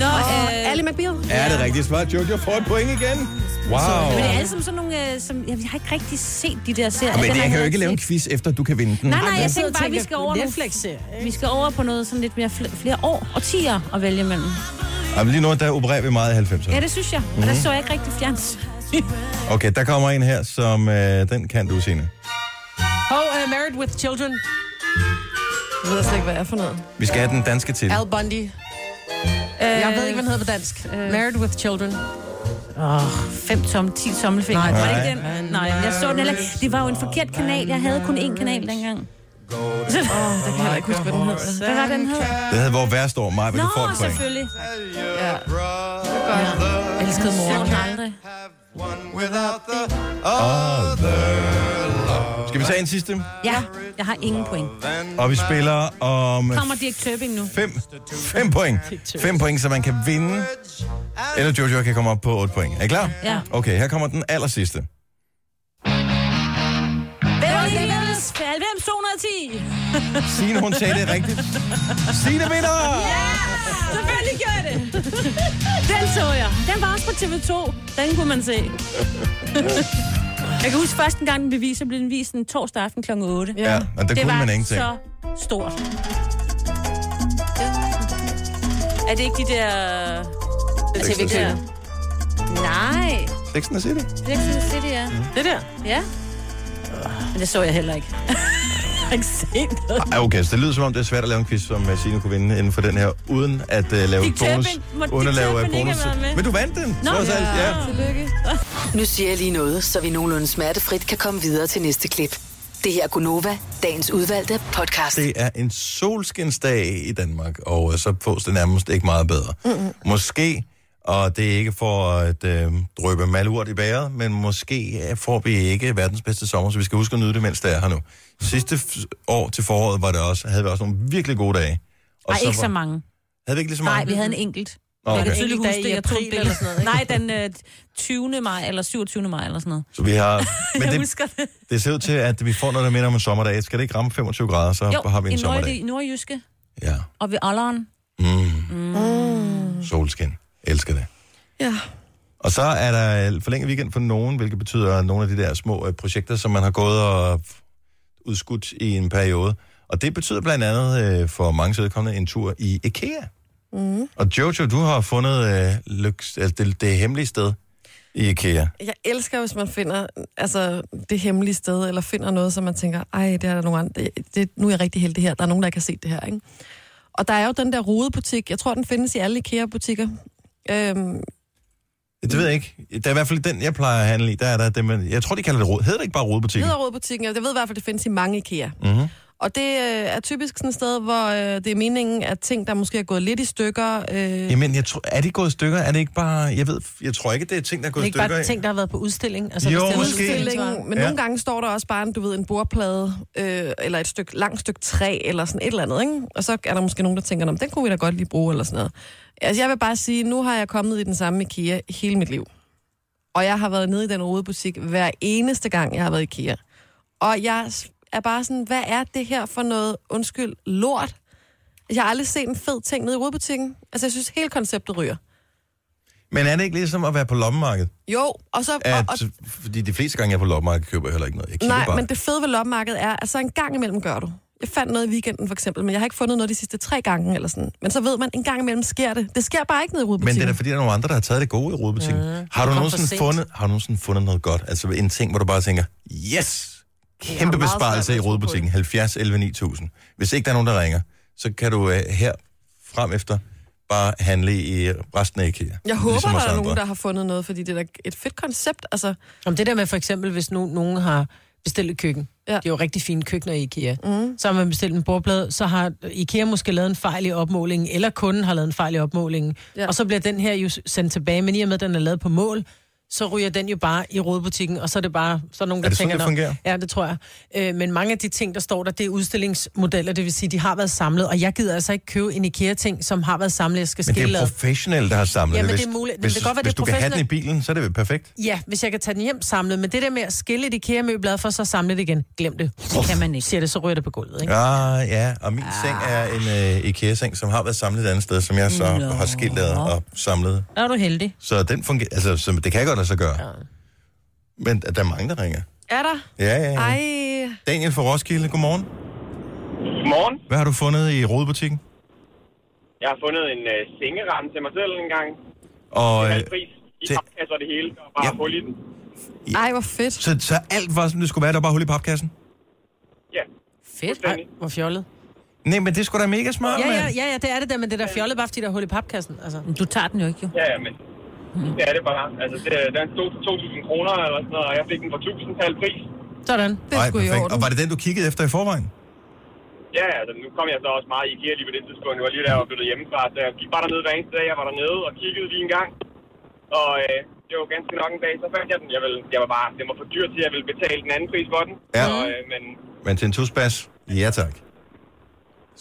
Nå, øh,
Ali McBeal.
[LAUGHS] Er det rigtigt svar? Jojo får et point igen. Wow.
men det er alle sammen sådan nogle, øh, som... Jeg, jeg har ikke rigtig set de der serier.
Og men
Den har
jeg kan jo
heller
altså ikke lave en
set.
quiz efter, du kan vinde den.
Nej, nej, jeg
sidder
tænker
og
bare, at vi
tænker
skal over nogle-
Netflix-serie,
Vi skal over på noget sådan lidt mere fl- flere år og tiger at vælge imellem.
Jamen, lige nu, der opererer vi meget i 90'erne.
Ja, det synes jeg. Og der så jeg ikke rigtig fjerns.
Okay, der kommer en her, som øh, den kan du, Signe.
Oh, and I'm married with children.
Jeg ved slet ikke, hvad det er for noget.
Vi skal have den danske titel.
Al Bundy.
Øh,
Jeg ved ikke, hvad den hedder på dansk. Øh. Married with children.
Fem tom, ti tommelfingre.
Nej,
Nej, var
nej.
det ikke den? Nej, jeg så den heller ikke. Det var jo en forkert kanal. Jeg havde kun én kanal dengang. Så,
Åh, der kan jeg heller ikke huske, hvad den hedder.
hvad var den hed?
Det hedder, hvor værst år, mig, men du får
Nå,
et point.
selvfølgelig.
Ja. Jeg elskede
Så
mor.
den aldrig.
Skal vi tage en sidste?
Ja, jeg har ingen point.
Og vi spiller om
Kommer Dirk Tøbing nu?
5 fem point. 5 point, så man kan vinde. Eller Jojo kan komme op på 8 point. Er I klar?
Ja.
Okay, her kommer den aller sidste.
Beverly's 90 210.
Signe, hun sagde det rigtigt. Signe vinder!
Selvfølgelig gjorde jeg det. Den så jeg. Den var også på TV2. Den kunne man se. Jeg kan huske første gang, den blev vist, så blev den vist en torsdag aften kl. 8. Ja.
Ja, og der
Det
kunne
var
man ingenting.
så stort. Er det ikke de der... øh,
Sex and the
der?
City.
Nej,
Sex and the City.
det er ikke City, ja.
Mm.
Det der.
ja. Men det så jeg heller ikke. [LAUGHS] jeg har ikke set noget.
Ah, okay, så det lyder som om, det er svært at lave en quiz, som øh, Signe kunne vinde inden for den her, uden at uh, lave
Dick
bonus.
Turpin. Må
uden at
Dick
lave øh,
Turpin ikke
bonus.
have været med?
Men du vandt den. Nå, så, ja.
Nu siger jeg lige noget, så vi nogenlunde smertefrit kan komme videre til næste klip. Det her er Gunova, dagens udvalgte podcast.
Det er en solskinsdag i Danmark, og øh, så fås det nærmest ikke meget bedre. Mm-hmm. Måske, og det er ikke for at øh, drøbe malurt i bæret, men måske øh, får vi ikke verdens bedste sommer, så vi skal huske at nyde det, mens det er her nu. Sidste f- år til foråret var det også, havde vi også nogle virkelig gode dage. Og
Nej, ikke
var,
så mange.
Havde vi ikke lige så
Nej,
meget?
vi havde en enkelt.
Nå, okay.
Jeg kan tydeligt
Enkelt dag
huske
i
det,
april
jeg tog et billede.
eller sådan noget,
Nej, den øh, 20. maj eller 27. maj eller sådan noget.
Så vi har...
[LAUGHS]
Men
Jeg
det,
husker det.
det ser ud til, at vi får noget, der minder om en sommerdag. Skal det ikke ramme 25 grader, så
Jo,
har vi en
i nord,
sommerdag.
i nordjyske
Ja.
og ved Olleren.
Solskin. Elsker det.
Ja.
Og så er der øh, forlænget weekend for nogen, hvilket betyder, at nogle af de der små øh, projekter, som man har gået og udskudt i en periode. Og det betyder blandt andet øh, for mange vedkommende en tur i IKEA. Mm. Og Jojo, du har fundet øh, lyks, altså det, det hemmelige sted i IKEA.
Jeg elsker, hvis man finder altså, det hemmelige sted, eller finder noget, som man tænker, ej, det er der nogen andre. Det, det, nu er jeg rigtig heldig her. Der er nogen, der ikke har set det her, ikke? Og der er jo den der rodebutik. Jeg tror, den findes i alle IKEA-butikker. Øhm,
Det ved jeg ikke. Der er i hvert fald den, jeg plejer at handle i. Der er der det, man, jeg tror, de kalder det rod. Hedder det ikke bare rodbutikken?
hedder rodebutikken. altså, Jeg ved i hvert fald, det findes i mange IKEA.
Mm-hmm.
Og det øh, er typisk sådan et sted, hvor øh, det er meningen, at ting, der måske er gået lidt i stykker... Øh,
Jamen, jeg tror, er det gået i stykker? Er det ikke bare... Jeg ved, jeg tror ikke, det er ting, der er
Det
gået
er
i
ikke
stykker.
bare ting, der har været på udstilling. Altså,
Jo,
hvis det er en
måske.
udstilling, så-
udstilling, men
Ja.
ja. nogle gange står der også bare en, du ved, en bordplade, øh, eller et stykke, langt stykke træ, eller sådan et eller andet, ikke? Og så er der måske nogen, der tænker, "Nå, den kunne vi da godt lige bruge, eller sådan noget. Altså, jeg vil bare sige, nu har jeg kommet i den samme IKEA hele mit liv. Og jeg har været nede i den rode butik hver eneste gang, jeg har været i IKEA. Og jeg er bare sådan, hvad er det her for noget, undskyld, lort? Jeg har aldrig set en fed ting nede i rodebutikken. Altså, jeg synes, hele konceptet ryger.
Men er det ikke ligesom at være på lommemarkedet?
Jo, og så... og, og,
At, fordi de fleste gange, jeg er på loppemarked, køber jeg heller ikke noget. Jeg kigger
Nej,
bare.
men det fede ved loppemarkedet er, at så en gang imellem gør du. Jeg fandt noget i weekenden for eksempel, men jeg har ikke fundet noget de sidste tre gange eller sådan. Men så ved man, en gang imellem sker det. Det sker bare ikke nede i
men det er
rodebutikken.
da fordi, der er nogle andre, der har taget det gode i rodebutikken. Mm, har, du nogensinde
sent.
fundet, har du nogensinde fundet noget godt? Altså en ting, hvor du bare tænker, yes! Kæmpe
meget svært
besparelse
ved
i
at tro på
rodebutikken. 70 11 9000. Hvis ikke der er nogen, der ringer, så kan du øh, her frem efter bare handle i resten af IKEA.
Jeg håber,
ligesom os
der er
andre.
nogen, der har fundet noget, fordi det er da et fedt koncept. Altså,
Om det der med for eksempel, hvis nu, nogen har bestilt et køkken.
Ja.
Ja. Det er jo rigtig fine køkkener i IKEA. Mm. Så har man bestilt en bordplade, så har IKEA måske lavet en fejl i opmålingen, eller kunden har lavet en fejl i opmålingen.
Ja.
Ja. Og så bliver den her jo sendt tilbage, men i og med, at den er lavet på mål, så ryger den jo bare i rodbutikken, og så er det bare så er nogen, der
Er det sådan,
tænker...
det
"Nå,
fungerer?"
Ja, det tror jeg. Øh, men mange af de ting, der står der, det er udstillingsmodeller, det vil sige, de har været samlet, og jeg gider altså ikke købe en IKEA-ting, som har været samlet, jeg skal
Men det
skille
er
ad.
professionelle, der har samlet
Ja, men
Hvis,
det er muligt. Det
hvis,
kan godt være,
hvis
det er
du kan have den i
professionelt.
bilen, så er det vel perfekt.
Ja, hvis jeg kan tage den hjem samlet, men det der med at skille et IKEA-møbel ad for, så samle det igen. Glem det.
Det kan man ikke.
siger det, så ryger det på gulvet, ikke?
Ah, ja, og min ah. seng er en øh, IKEA-seng, som har været samlet et andet sted, som jeg så no.
Nå.
har skilt ad og samlet.
Der er du heldig.
Så den fungerer, altså så det kan godt lade sig gøre. Ja. Men der er mange, der ringer.
er der?
Ja, ja, ja.
Ej,
Daniel fra Roskilde, godmorgen.
Morgen.
Hvad har du fundet i rodebutikken?
Jeg har fundet en øh, sengeramme til mig selv en gang.
Og, øh,
Halv pris. i
Til-
papkasser og det hele. Der var
Ja.
ja. hul i den.
Ej, hvor fedt.
Så, så alt var, som det skulle være, der var bare hul i papkassen?
Ja.
Fedt. Ej, hvor fjollet.
Nej, men det skulle sgu da mega smart,
Ja, ja,
mand.
ja, ja, det er det der, men det der fjollet bare fordi der er hul i papkassen. Altså.
Du tager den jo ikke, jo.
Ja, ja, men det er det bare. Altså, det, den stod til 2.000 kroner eller sådan noget, og jeg fik den for 1.000 halv pris.
Sådan.
Det
Ej,
skulle i
perfekt.
orden.
Og var det den, du kiggede efter i forvejen?
Ja, altså, nu kom jeg så også meget i IKEA lige på det tidspunkt. Jeg var lige der, jeg var flyttet hjemmefra, så jeg gik bare dernede hver eneste dag. Jeg var dernede og kiggede lige en gang. Og øh, det var ganske nok en dag, så fandt jeg den. Jeg, ville, jeg var bare, det var for dyrt til, at jeg ville betale den anden pris for den.
Ja.
Og, øh, men
Men til en tusbas? Ja, tak.
ja,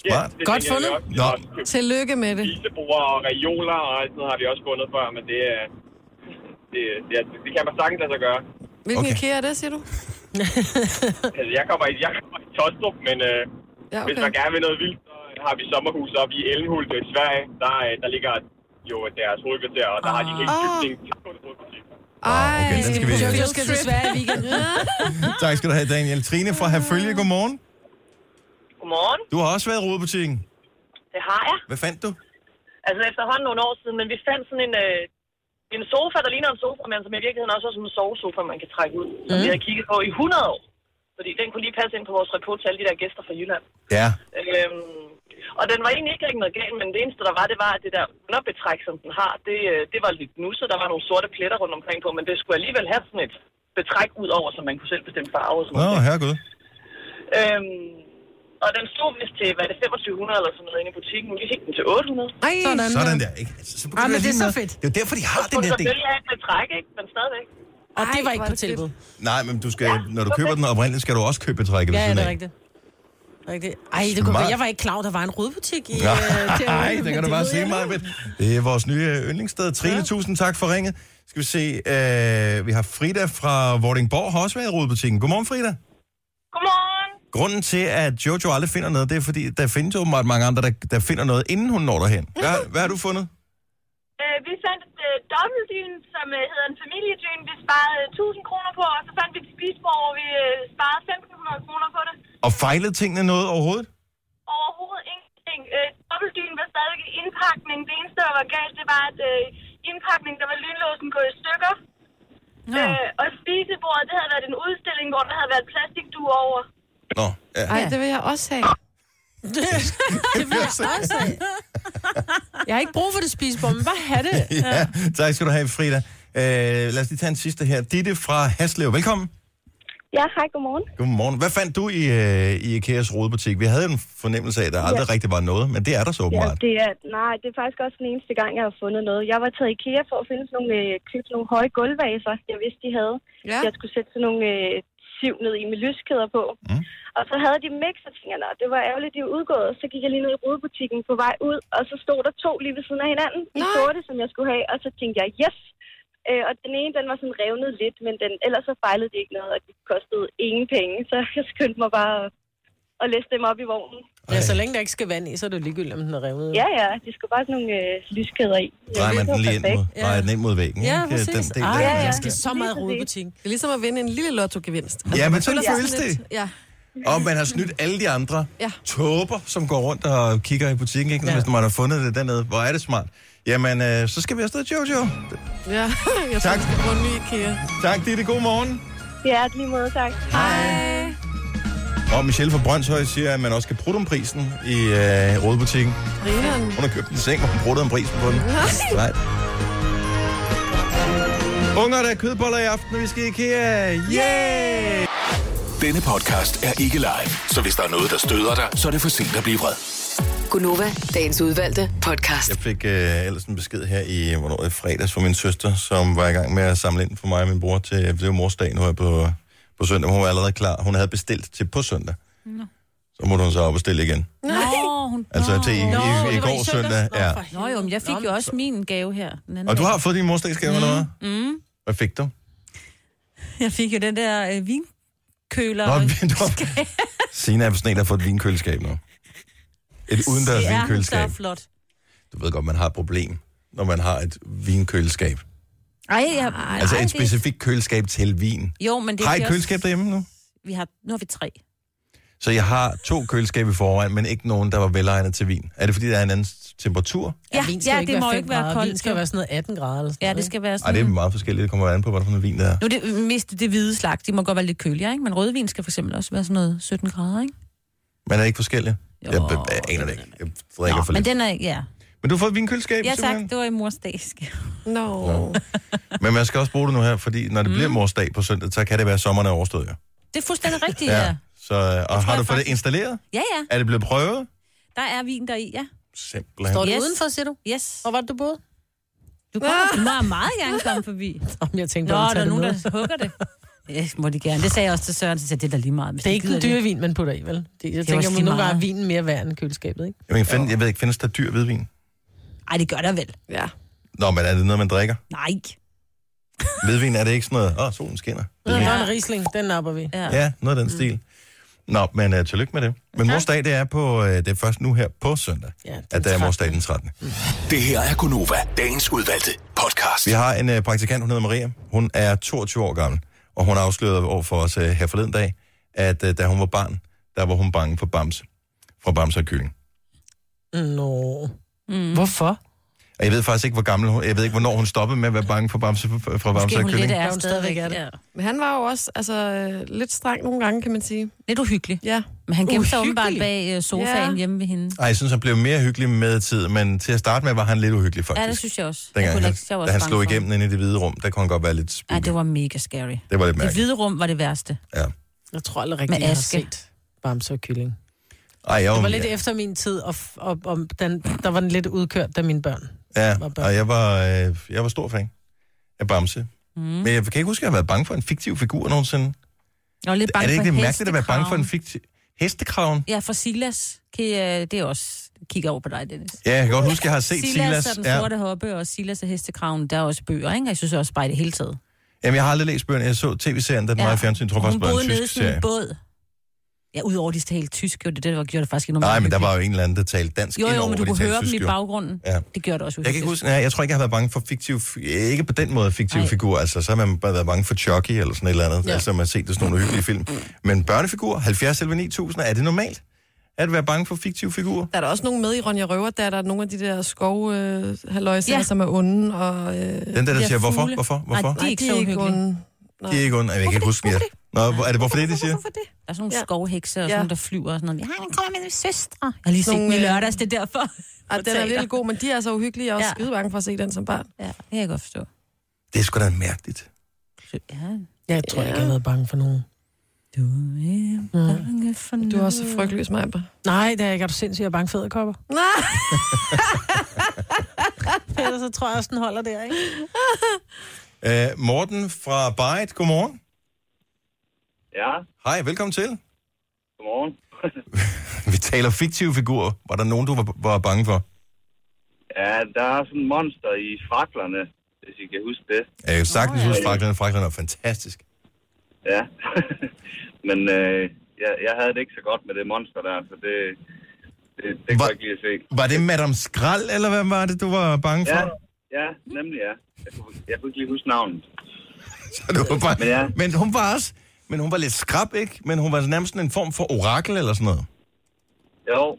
Smart.
det
Godt
tænker jeg,
fundet.
vi også- vi
Nå.
har også købt
Tillykke med det.
Isebord og reoler og alt sådan noget har vi også fundet før, men det, er- det, det, er- det kan man sagtens lade sig gøre.
Hvilken
Okay.
okay. IKEA er det, siger du?
Altså, jeg kommer i, jeg kommer i Tostrup, men øh,
Ja,
hvis man
okay.
gerne vil noget vildt, så har vi sommerhus oppe i Elmhult i Sverige. Der, øh, der ligger jo deres hovedkvarter, og der har de helt
Ah.
købt ting.
Ej,
okay, den skal vi-
Jojo
Jeg skal til Sverige i weekenden.
Tak skal du have, Daniel. Trine fra Herfølge, godmorgen.
Godmorgen,
Du har også været i rodebutikken.
det har jeg.
Hvad fandt du?
Altså efterhånden nogle år siden, men vi fandt sådan en, øh, en sofa, der ligner en sofa, men som i virkeligheden også er sådan en sovesofa, man kan trække ud, som vi har kigget på i 100 år. Fordi den kunne lige passe ind på vores report til alle de der gæster fra Jylland.
Ja.
Øhm, og den var egentlig ikke rigtig noget galt, men det eneste, der var, det var, at det der underbetræk, som den har, det, øh, det var lidt nusset. Der var nogle sorte pletter rundt omkring på, men det skulle alligevel have sådan et betræk ud over, så man kunne selv bestemme farve. Og sådan
Nå,
noget.
herregud.
Øhm, og den stod vist til, hvad er det, 2500 eller sådan noget inde i butikken. Vi fik den til 800.
Ej,
Sådan.
Sådan der, ikke? Altså, så
Ej,
begynder
Ah, men
jeg
det er
lige
så
med-
fedt.
Det er jo derfor, de har
Og
den her
så
del.
selvfølgelig have et betræk, ikke? Men stadigvæk.
Og det var
Ej,
ikke
hvor
på
er det
tilbud.
Nej, men du skal, når du køber den oprindeligt, skal du også købe trækket ved
Ja, ja,
siden
det
af.
er rigtigt. Rigtigt. Ej, det kunne
Smart.
være. Jeg var ikke klar, over, der var en rødbutik i... øh, Tivoli,
[LAUGHS] Nej,
men
det kan du bare
ved
se
jeg
mig.
nu.
Det er vores nye øh, yndlingssted. Trine, ja. tusind tak for ringet. Skal vi se, øh, vi har Frida fra Vordingborg, har også været i rodebutikken. Godmorgen, Frida.
Godmorgen!
Grunden til, at Jojo aldrig finder noget, det er, fordi der findes åbenbart mange andre, der, der finder noget, inden hun når derhen. Hvad, hvad har du fundet?
Øh, vi fandt et øh, dobbeltdyn, som øh, hedder en familiedyn. Vi sparede 1000 kroner på, og så fandt vi et spisbord, hvor vi øh, sparede 1500 kroner på det.
Og fejlede tingene noget overhovedet?
Overhovedet ingenting. Øh, dobbeltdyn var stadig indpakning. Det eneste, der var galt, det var, at øh, indpakning, der var lynlåsen gået i stykker.
Nå.
Øh, og spisebordet, det havde været en udstilling, hvor der havde været plastikdu over.
Nå, ja.
Ej, det vil jeg også have.
Det vil jeg også have. Jeg har ikke brug for det spisebord, men bare have det.
[LAUGHS] ja. Tak skal du have, Frida. Øh, lad os lige tage en sidste her. Ditte fra Haslev, velkommen.
Ja, hej, godmorgen.
Godmorgen. Hvad fandt du i, øh, i IKEA's rodebutik? Vi havde jo en fornemmelse af, at der aldrig ja. rigtig var noget, men det er der så
Ja,
åbenbart.
det er, nej, det er faktisk også den eneste gang, jeg har fundet noget. Jeg var taget i IKEA for at finde sådan nogle, øh, købe nogle høje gulvvaser, jeg vidste, de havde.
Ja.
Jeg skulle sætte sådan nogle øh, siv ned i med lyskæder på.
Mm.
Mm. Og så havde de mix, og tænkte, jeg, "Nå, det var ærgerligt, de var udgået. Så gik jeg lige ned i rodebutikken på vej ud, og så stod der to lige ved siden af hinanden. De
Nej.
sorte, som jeg skulle have, og så tænkte jeg, yes! Øh, og den ene, den var sådan revnet lidt, men den, ellers så fejlede det ikke noget, og det kostede ingen penge. Så [LAUGHS] jeg skyndte mig bare at, at læse dem op i vognen.
øh, Ja, så længe der ikke skal vand i, så er det jo ligegyldigt, om den er revnet.
Ja, ja, de skulle bare sådan nogle øh, lyskæder i.
Drejer man
Det var
den lige ind
perfekt.
mod, drejer den ind mod væggen.
Ja,
ikke? øh, Den
præcis.
del
Ej,
der.
jeg
ja.
skal så meget i rodebutik.
Det er ligesom at vinde en lille lottogevinst. Altså,
Ja, men
man
sådan
føler sig
føles
sådan
det.
lidt- Ja.
Og man har snydt alle de andre ja.
Ja.
tåber, som går rundt og kigger i butikken, ikke?
Ja.
hvis man har fundet det dernede. Hvor er det smart. Jamen, øh, så skal vi afsted, Jojo.
ja. [LAUGHS] Jeg tak.
Tak.
Tror, vi skal bruge en ny IKEA.
Tak, Ditte. God morgen.
Ja, lige måde, tak.
Og Michelle fra Brøndshøj siger, at man også kan prutte om prisen i øh, rådbutikken.
Grineren.
Hun har købt en seng, og hun pruttede om prisen på den. Nej. Unger, der er kødboller i aften, og vi skal i IKEA. Yay!
Denne podcast er ikke live, så hvis der er noget, der støder dig, så er det for sent at blive vred.
Gunova, dagens udvalgte podcast.
Jeg fik øh, ellers en besked her i, hvornår, i fredags fra min søster, som var i gang med at samle ind for mig og min bror til, det var mors dag nu her på, på søndag, men hun var allerede klar. Hun havde bestilt til på søndag. Så måtte hun så op og stille igen.
Nå, hun...
Altså til
Nå.
i, i, i, i
det var
går
i søndags?
søndag.
Nå,
Ja.
for
Nå jo, men jeg fik jo også min gave her. Den anden
Og du
dag.
har fået din mors dagsgave mm. eller hvad? Hvad fik du?
Jeg fik jo den der øh, vinkøler.
[LAUGHS] Nå, du Sina er sådan en, der har fået et vinkøleskab nu. Et udendørs
det er så
vinkøleskab.
flot.
Du ved godt, man har et problem, når man har et vinkøleskab.
Ej, jeg, ej,
Altså et
det-
specifikt køleskab til vin.
Jo, men det er
Har I
fordi
et
også-
køleskab derhjemme nu?
Vi har, nu har vi tre.
Så jeg har to køleskabe i forvejen, men ikke nogen, der var velegnet til vin. Er det, fordi der er en anden temperatur?
Ja,
vin skal
ja,
jo ikke
det
være
må
fem
ikke være
grader.
koldt.
Vin skal jo være sådan noget 18 grader eller sådan
Ja,
noget,
det
ikke?
skal være
Nej,
sådan...
det er meget forskelligt. Det kommer an på, hvad for en vin der er.
Nu er det mest det hvide slag. De må godt være lidt køligere, ikke? Men rødvin skal for eksempel også være sådan noget 17 grader, ikke?
Men er det ikke forskellige?
Jo,
Jeg, jeg, jeg aner det ikke. Jeg drikker for
men
lidt.
den er... Ja,
Men du har fået vinkøleskab,
ja tak.
simpelthen?
Det var i mors dagske.
Nå. No.
Men man skal også bruge det nu her, fordi når det
Mhm.
bliver mors dag på søndag, så kan det være, at sommeren er overstået. Jo.
Det er
[LAUGHS]
fuldstændig rigtigt, ja. ja.
Så, øh, og har
jeg
du fået det
faktisk-
installeret?
Ja, ja.
Er det blevet prøvet?
Der er vin der i, ja.
Simpelthen.
Står du
Yes.
udenfor, siger du?
Yes.
Hvor var det, du boede?
Du kommer, du må meget gerne komme forbi.
Om jeg tænkte
Nå,
bare, at
der
tage
er
det
nogen,
med.
der hugger det. Ja, må de gerne. Det sagde jeg også til Søren, så sagde, jeg, det er da lige meget. Hvis
Det er ikke den
gider
dyre vin, man putter i, vel? Det, jeg det
også
tænker,
lige
at nogle gange er
meget.
vinen mere værd end køleskabet, ikke?
Jamen, find, jeg ved ikke, findes der dyr hvidvin?
Ej, det gør der vel.
Ja.
Nå, men er det noget, man drikker?
Nej.
Hvidvin er det ikke sådan noget, åh, oh, solen skinner.
Ja.
Hvidvin.
Nå, en risling, den napper vi.
Ja.
Ja, noget af
Mm.
den stil. Nå, men uh, tillykke med det. Men mors dag, det er, på, uh, det er først nu her på søndag,
Ja,
at der er mors dag den 13.
Det her er Gonova, dagens udvalgte podcast.
Vi har en øh, praktikant, hun hedder Maria. Hun er 22 år gammel, og hun afslørede over for os øh, her forleden dag, at øh, da hun var barn, der var hun bange for Bamse. Fra Bamse og Kylling.
Nå. Mm. Hvorfor?
Og jeg ved faktisk ikke, hvor gammel hun, jeg ved ikke, hvornår hun stoppede med at være bange for Bamse, fra Bamse
Måske
og
hun lidt
Kylling.
Ja,
er
hun
stadigvæk.
stadigvæk er det.
Ja.
Men han var jo også altså, øh, lidt streng nogle gange, kan man sige.
Lidt uhyggelig.
Ja.
Men han gemte sig
Uhyggelig?
åbenbart bag øh, sofaen
Ja.
hjemme ved hende.
Ej, jeg synes, han blev mere hyggelig med tid, men til at starte med var han lidt uhyggelig faktisk.
Ja, det synes jeg også. jeg
Dengang
kunne
han,
ikke- jeg var også
da han
bange
slog
for ham.
igennem ind i det hvide rum, der kunne han godt være lidt
Ej,
spooky.
det var mega scary.
det var lidt
Det
mærkeligt.
hvide rum var det værste.
Ja.
Jeg tror aldrig rigtigt,
Med
jeg har
aske.
set Bamse og Kylling.
Ej, jeg var,
Det var lidt efter min tid, og, f- og, og den, der var den lidt udkørt, da mine børn.
Ja,
var børn.
og jeg var, øh, jeg var stor fan af Bamse. Mm. Men jeg kan ikke huske, at jeg har været bange for en fiktiv figur nogensinde.
Jeg var lidt bange
er det ikke
for
det mærkeligt at være bange for en
hestekraven.
fiktiv... Hestekraven?
Ja, for Silas. Kan, øh, det er også... Kigger over på dig, Dennis.
Ja, jeg kan godt huske, at jeg har set
Silas,
Silas.
og den
ja.
sorte hoppe, og Silas og hestekraven, der er også bøger, ikke? Og jeg synes også bare i det hele taget.
Jamen, jeg har aldrig læst bøgerne. Jeg så tv-serien, da den
Ja.
var i fjernsyn. Jeg tror
Og
faktisk,
hun
det var
boede
en
nede i
tysk
sådan
serie.
en båd. Ja, udover de talte tysk, jo, det, er det der var- gjorde det faktisk ikke noget
Nej,
mere
men der var
hyggeligt.
jo en eller anden, der talte dansk
Jo, jo,
indover,
men du
hvor de
kunne
talte
høre dem
tysk,
i
jo.
baggrunden.
Ja.
Det gjorde det også
Jeg kan ikke
uhyggeligt.
huske, nej, jeg tror ikke, jeg har været bange for fiktiv, ikke på den måde fiktive
Nej.
figurer, altså så har man bare været bange for Chucky eller sådan et eller andet, ja.
Ja.
altså man har set det sådan nogle hyggelige film. Men børnefigurer, 70 11 9000, er det normalt? At være bange for fiktive figurer?
Der er der også nogen med i Ronja Røver, der er der nogle af de der skov, øh, halløjser,
Ja.
ja. som er onde. Og, øh,
Den der, der
Ja,
siger, hvorfor,
fugle.
hvorfor, hvorfor?
Nej,
Nej,
de er ikke så uhyggelige.
onde. Nej.
de er ikke ondt, jeg kan ikke huske mere. Nå, hvor- er det hvorfor det, de siger?
Hvorfor det?
Der er sådan nogle
Ja.
skovhekse og
Ja.
sådan nogle, der flyver og sådan noget. Ja, han kommer med mine søstre. Jeg har lige set
Nogle,
dem i
øh,
lørdags, det er derfor.
Ej, den er virkelig god, men de er så uhyggelige. Jeg er også
Ja.
ja. skide bange for at se den som barn.
Ja, det kan jeg godt forstå.
Det er sgu da mærkeligt.
Ja.
Jeg tror ikke, jeg har været bange for nogen.
Du er bange for
Du er også så frygtløs, Maja.
Nej, det er jeg ikke. Er du sindssygt, jeg er bange for æderkopper? [LAUGHS]
Nej!
Ellers så tror jeg også, den holder der, ikke?
Øh, Morten fra Byte, godmorgen.
Ja,
Hej, velkommen til.
godmorgen.
[LAUGHS] Vi taler fiktive figurer. Var der nogen, du var, var bange for?
ja, der er sådan en monster i fraklerne, hvis I kan huske det.
Jeg kan sagtens huske fraklerne. Fraklerne er fantastisk.
Ja. [LAUGHS] Men øh, jeg, jeg havde det ikke så godt med det monster der, så det, det, det
Hva-
kunne jeg ikke lige at se.
Var det Madame Skrald, eller hvad var det, du var bange for? [LAUGHS]
Ja, ja nemlig ja. Jeg kunne, jeg kunne ikke lige huske navnet.
Så det var bare... men,
Men ja.
men hun var også... Men hun var lidt skrab, ikke? Men hun var nærmest sådan en form for orakel eller sådan noget.
Jo,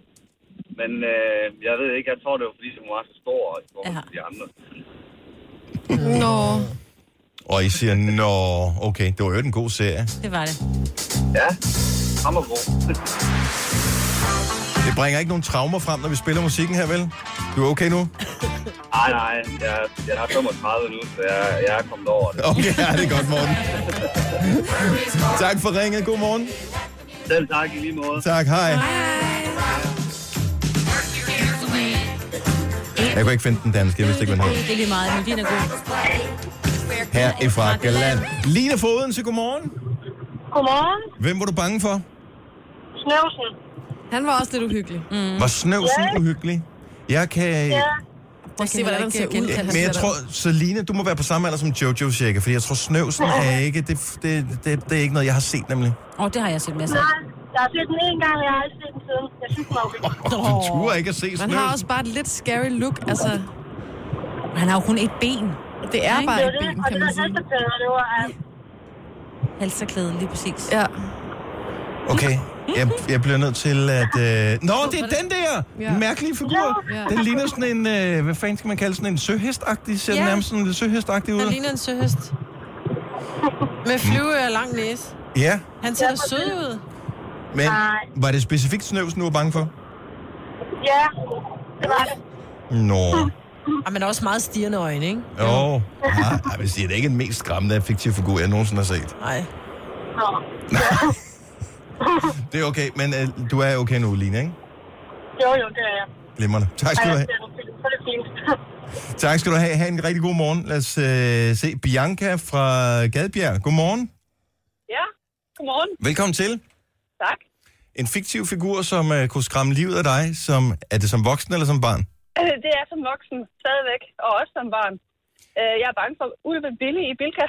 men øh, jeg ved ikke, jeg tror det var fordi, hun var så stor i forhold til de andre.
Nå.
Og I siger, nå, okay, det var jo en god serie.
Det var det.
Ja, hammergod.
Det bringer ikke nogen traumer frem, når vi spiller musikken her, vel? Du er okay nu?
[LAUGHS]
[LAUGHS]
Nej, nej, jeg, jeg er 35 nu, så jeg, jeg er kommet over det.
Okay, ja, det er godt, Morten. tak for ringet. God morgen.
Selv tak i lige måde.
Tak, hej. Jeg kunne ikke finde den danske, jeg vidste ikke, hvad den
Det er lige meget, men din er god.
hed. Her i Frakkeland. Line Foden, til godmorgen.
Godmorgen.
Hvem var du bange for?
Snøvsen.
Han var også lidt uhyggelig. Mm.
Var snøvsen uhyggelig? Jeg kan...
Ja.
Prøv at se, hvordan han ser ud.
Ja,
at han
men jeg
ser
tror, Selina, du må være på samme alder som Jojo cirka, fordi jeg tror, snøvsen er ikke, det, det, det, det er ikke noget, jeg har set nemlig.
Åh, oh, det har jeg set masser af.
Nej, jeg har set den en gang, og jeg har aldrig set den siden. Jeg synes, den var
[LAUGHS]
okay.
Oh, du turer ikke at se
ud. Man har
snøvsen.
også bare et lidt scary look. Altså,
Han har jo kun et ben.
det er bare
Det var
et
det,
ben,
og
kan man
det der
sige.
hesteplader, det var... øh,
Halserklæden, lige præcis.
Ja.
Okay, Jeg, jeg bliver nødt til at... Øh... Nå, det er den der
Ja.
mærkelige figur.
Ja.
Den ligner sådan en... Øh, hvad fanden skal man kalde sådan en søhestagtig? Ser den
Ja.
nærmest sådan lidt søhestagtig
Han
ud?
ligner en søhest. Med flyve og lang næse.
Ja,
Han ser da sød ud.
men
Nej.
var det specifikt snøvsen, du var bange for?
Ja, det var det.
Nå.
Ah, men også meget stirrende øjne, ikke?
Jo. Nej, jeg vil sige, det er ikke den mest skræmmende fiktive figur, jeg nogensinde har set.
Nej.
Nå.
Det er okay, men øh, du er okay nu, Line, ikke?
Jo, jo, det er jeg.
Glimrende. Tak skal
Ej,
du
jeg
have.
ser det fint. Så er det fint.
[LAUGHS] Tak skal du have. Ha' en rigtig god morgen. Lad os øh, se Bianca fra Gadbjerg. Godmorgen.
ja, godmorgen.
Velkommen til.
Tak.
En fiktiv figur, som øh, kunne skræmme livet af dig, som, er det som voksen eller som barn?
Øh, Det er som voksen, stadigvæk, og også som barn. Øh, Jeg er bange for ulve Billy i Bilka.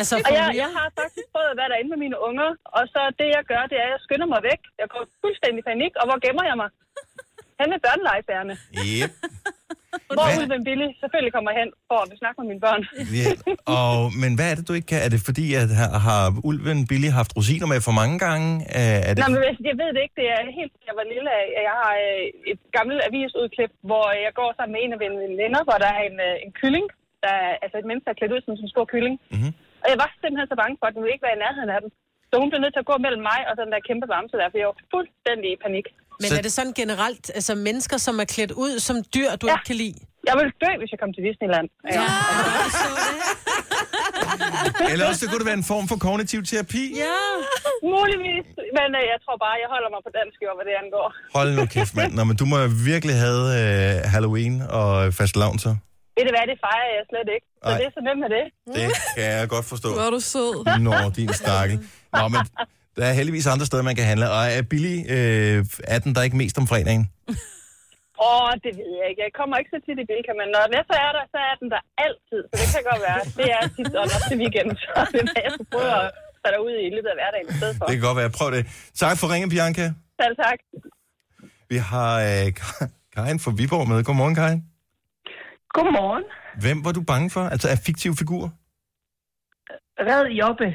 Altså,
og
for
jeg,
real?
jeg har faktisk prøvet at være derinde med mine unger, og så det, jeg gør, det er, at jeg skynder mig væk. Jeg går fuldstændig i panik, og hvor gemmer jeg mig? Han er børnelejebærende.
Yep.
Hvor
Hvad?
ulven Billy selvfølgelig kommer hen for at snakke med mine børn.
Ja. Og, men hvad er det, du ikke kan? Er det fordi, at har, har ulven Billy haft rosiner med for mange gange? Øh, Er det...
Nå, men jeg- jeg ved det ikke. Det er helt, jeg var lille af. Jeg har øh, et gammelt avisudklip, hvor jeg går sammen med en af mine venner, hvor der er en, øh, en kylling. Der er, altså et menneske, der er klædt ud som sådan en stor kylling.
Mhm.
Og jeg var simpelthen så bange for, at den ville ikke være i nærheden af den. Så hun blev nødt til at gå mellem mig og den der kæmpe bamse der, for jeg var fuldstændig i panik.
Men er det sådan generelt, altså mennesker, som er klædt ud som dyr, du ja. ikke kan lide?
Jeg ville dø, hvis jeg kom til Disneyland. Ja.
Eller også det kunne det være en form for kognitiv terapi?
ja. Muligvis, men øh, jeg tror bare, jeg holder mig på dansk jord, hvad det angår.
Hold nu kæft, mand. Nå, men du må virkelig have øh, Halloween og fast så.
Ved det hvad, det fejrer jeg slet ikke. Så
Ej.
det er så nemt med det.
Det kan jeg godt forstå.
Hvor er du sød.
Nå, din stakkel. Nå, men der er heldigvis andre steder, man kan handle. Og er billig øh, er den der ikke mest om fredagen?
Åh, oh, det ved jeg ikke. Jeg kommer ikke så tit i Bilka, men når den er så er der, så er den der altid. Så det kan godt være. Det er tit sådan op til weekend, så det er, jeg skal prøve at tage dig ud i løbet af hverdagen i stedet for.
Det kan godt være. Prøv det. Tak for ringen, Bianca.
Selv tak.
Vi har øh, Ka- Karin fra Viborg med. Godmorgen, Karin.
Godmorgen.
Hvem var du bange for? Altså, er fiktiv figur?
Red Jobbe.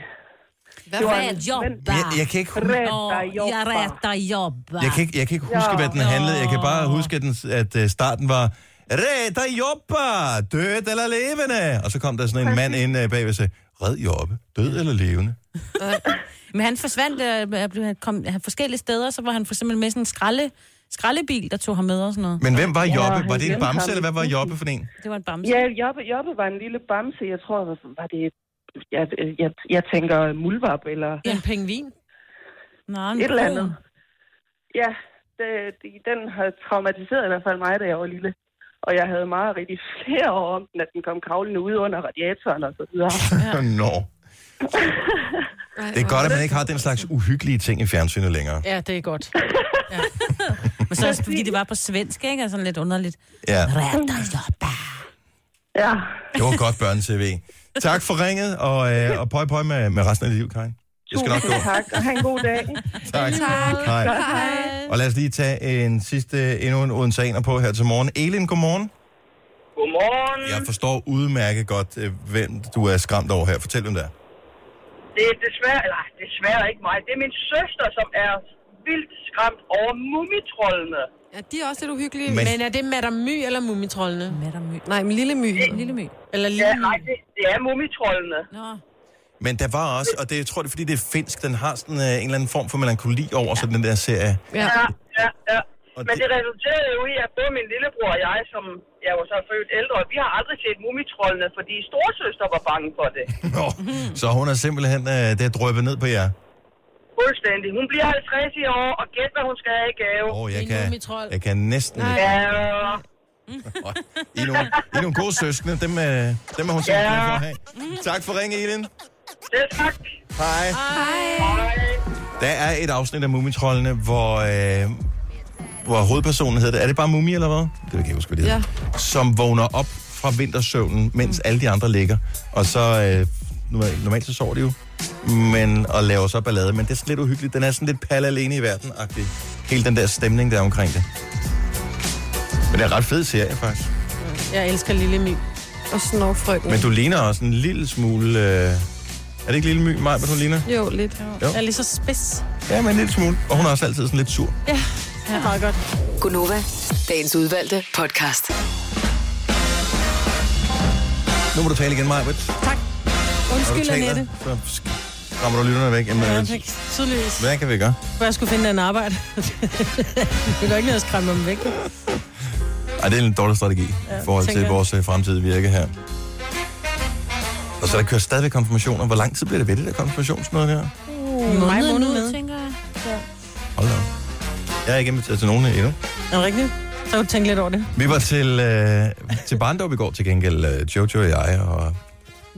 Hvad
Det var
red
en-
jobba?
Jeg, jeg kan ikke huske...
Åh, jeg retter jobba.
Jeg kan ikke, jeg kan ikke huske, hvad den handlede. Jeg kan bare huske, at, den, at øh, starten var... Red jobba, død eller levende. Og så kom der sådan en mand ind øh, bagved og sagde, red jobbe, død eller levende.
Men han forsvandt, øh, øh, blev- han kom han forskellige steder, så var han for eksempel med sådan en skralde, skraldebil, der tog ham med og sådan noget.
Men hvem var
Ja,
jobbe?
han
Var det en
glemte
bamse,
ham.
eller hvad var jobbe for en?
Det var en bamse.
Ja, Jobbe, Jobbe var en lille bamse. Jeg tror, var- var det... Jeg, jeg, jeg tænker mulvarp eller
En pingvin?
Nej,
et eller andet. Ja, det, det, den har traumatiseret i hvert fald mig, da jeg var lille. Og jeg havde meget rigtig flere år om den, at den kom kravlende ud under radiatoren og så videre.
Ja. [LAUGHS] Nå. Det er godt, at man ikke har den slags uhyggelige ting i fjernsynet længere.
Ja, det er godt.
Men så også, fordi det var på svensk, ikke? Og sådan lidt underligt.
Ja,
Retter jobba.
Ja.
det var godt børne-tv. Tak for ringet, og, øh, og pøj pøj med, med resten af dit liv, Karin. Jeg skal nok gå.
Tak, og have en god dag.
Tak. Hej. Og lad os lige tage en sidste, endnu en Odenseaner på her til morgen. Elin, godmorgen.
Godmorgen.
Jeg forstår udmærket godt, øh, hvem du er skræmt over her. Fortæl hvem det er.
Det er desværre, eller desværre ikke mig. Det er min søster, som er vildt skræmt over mumitrollene.
Ja, de er også lidt uhyggelige.
Men-
Men, men er det Madame My eller mumitrollene?
Madame My.
Nej, men Lille My. Lille
My.
Eller Lille
Ja,
My.
nej, det, det er mumitrollene.
Nå.
Men der var også, og det jeg tror det er, fordi det er finsk, den har sådan øh, en eller anden form for melankoli over sådan den der serie.
Ja, ja, ja.
Og
Men
det-
det resulterede jo i, at både min lillebror og jeg, som jeg var så født ældre, vi har aldrig set mumitrollene, fordi storsøster var bange for det.
Nå, så hun er simpelthen, øh, det er drøbet ned på jer.
Fuldstændig. Hun bliver 50 i år, og gæt, hvad hun skal have i gave.
Åh, jeg kan, jeg kan næsten...
Ja,
I er nogle, I er nogle gode søskende, dem, øh, dem er hun simpelthen glad for at have. Tak for ringen, Elin.
det tak.
Mm. Hej.
Hej.
Der er et afsnit af Mumitrollene, hvor, øh, hvor hovedpersonen hedder det. Er det bare Mumi eller hvad? Det kan jeg ikke huske, hvad det hedder. Ja. Som vågner op fra vintersøvnen, mens mm. alle de andre ligger. Og så, øh, normalt, normalt så sover de jo, men, og laver så ballade. Men det er sådan lidt uhyggeligt. Den er sådan lidt palle alene i verden-agtig. Hele den der stemning, der er omkring det. Men det er en ret fed serie, faktisk.
Jeg elsker Lille My. Og Snorfrøken.
Men du ligner også en lille smule... Øh, Er det ikke lille my, Maj, hvad hun ligner?
Jo, lidt.
Jo.
Jo. Jeg er lige så spids.
Ja, men en lille smule. Og hun er også altid sådan lidt sur.
Ja, det er meget godt.
Gunova, dagens udvalgte podcast.
Nu må du tale igen, Maj. Tak.
Undskyld, Annette.
Så sk- rammer du lytterne væk. Jamen,
Ja,
ja,
det er tydeligvis.
hvad kan vi gøre?
Hvor jeg skulle finde en arbejde. [LAUGHS] det går ikke noget at skræmme dem væk.
Ej, det er en dårlig strategi
Ja,
ja, i forhold
tænker
til
jeg.
vores øh, fremtidige virke her. Og så der kører stadigvæk konfirmationer. Hvor lang tid bliver det ved det der konfirmationsmøde der?
Uh,
Måneden
maj måned
ud,
med.
tænker jeg.
Ja.
Hold da. op. Jeg er ikke inviteret til nogen endnu.
Er det rigtigt? Så kan du tænke lidt over det.
Vi var til, øh, til barndom i går til gengæld, øh, Jojo og jeg og,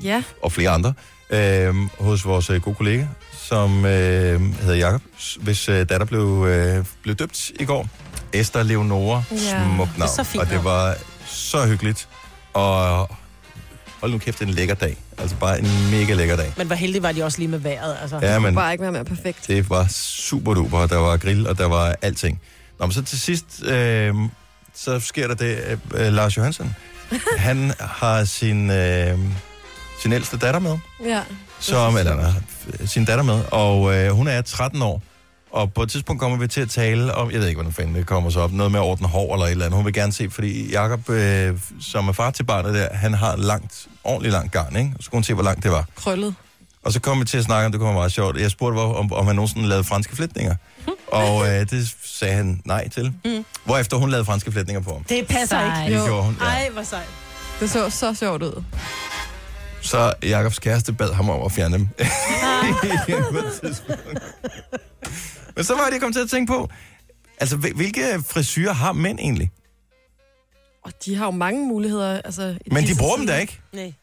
Ja.
og flere andre, øh, hos vores øh, gode kollega, som øh, hedder Jakob, s- hvis øh, datter blev, øh, blev døbt i går. Esther Leonora,
Ja,
ja, smukt
det er
navn.
så fint
og det
navn.
var så hyggeligt. Og hold nu kæft, det er en lækker dag. Altså bare en mega lækker dag.
Men hvor heldig var de også lige med vejret. Altså.
Ja, men-
Bare ikke være mere perfekt.
Det var super duper, der var grill, og der var alting. Nå, men så til sidst, øh, så sker der det, at øh, Lars Johansen, han har sin, øh, sin ældste datter med,
Ja.
som, eller nej, sin datter med, og øh, hun er 13 år. Og på et tidspunkt kommer vi til at tale om, jeg ved ikke, hvordan fanden det kommer så op, noget med at ordne hår eller et eller andet. Hun vil gerne se, fordi Jakob, øh, som er far til barnet der, han har langt, ordentligt langt garn, ikke? Og så kunne hun se, hvor langt det var.
Krøllet.
Og så kom vi til at snakke om, det kunne være meget sjovt. Jeg spurgte, hvor, om, om han nogensinde lavede franske
[LAUGHS]
flætninger. Og øh, det sagde han nej til. Mm. Hvorefter hun lavede franske flætninger på ham.
Det passer
Sejt.
ikke.
Det gjorde hun, ja.
Ej, hvor sejt.
Det så så sjovt ud.
Så Jakobs kæreste bad ham om at fjerne dem.
Ah.
[LAUGHS] På et tidspunkt. Men så var det, jeg kom til at tænke på. Altså, hvil- hvilke frisyrer har mænd egentlig?
Og de har jo mange muligheder. Altså, i
Men de
disse
bruger dem da
tider.
ikke.
Nej.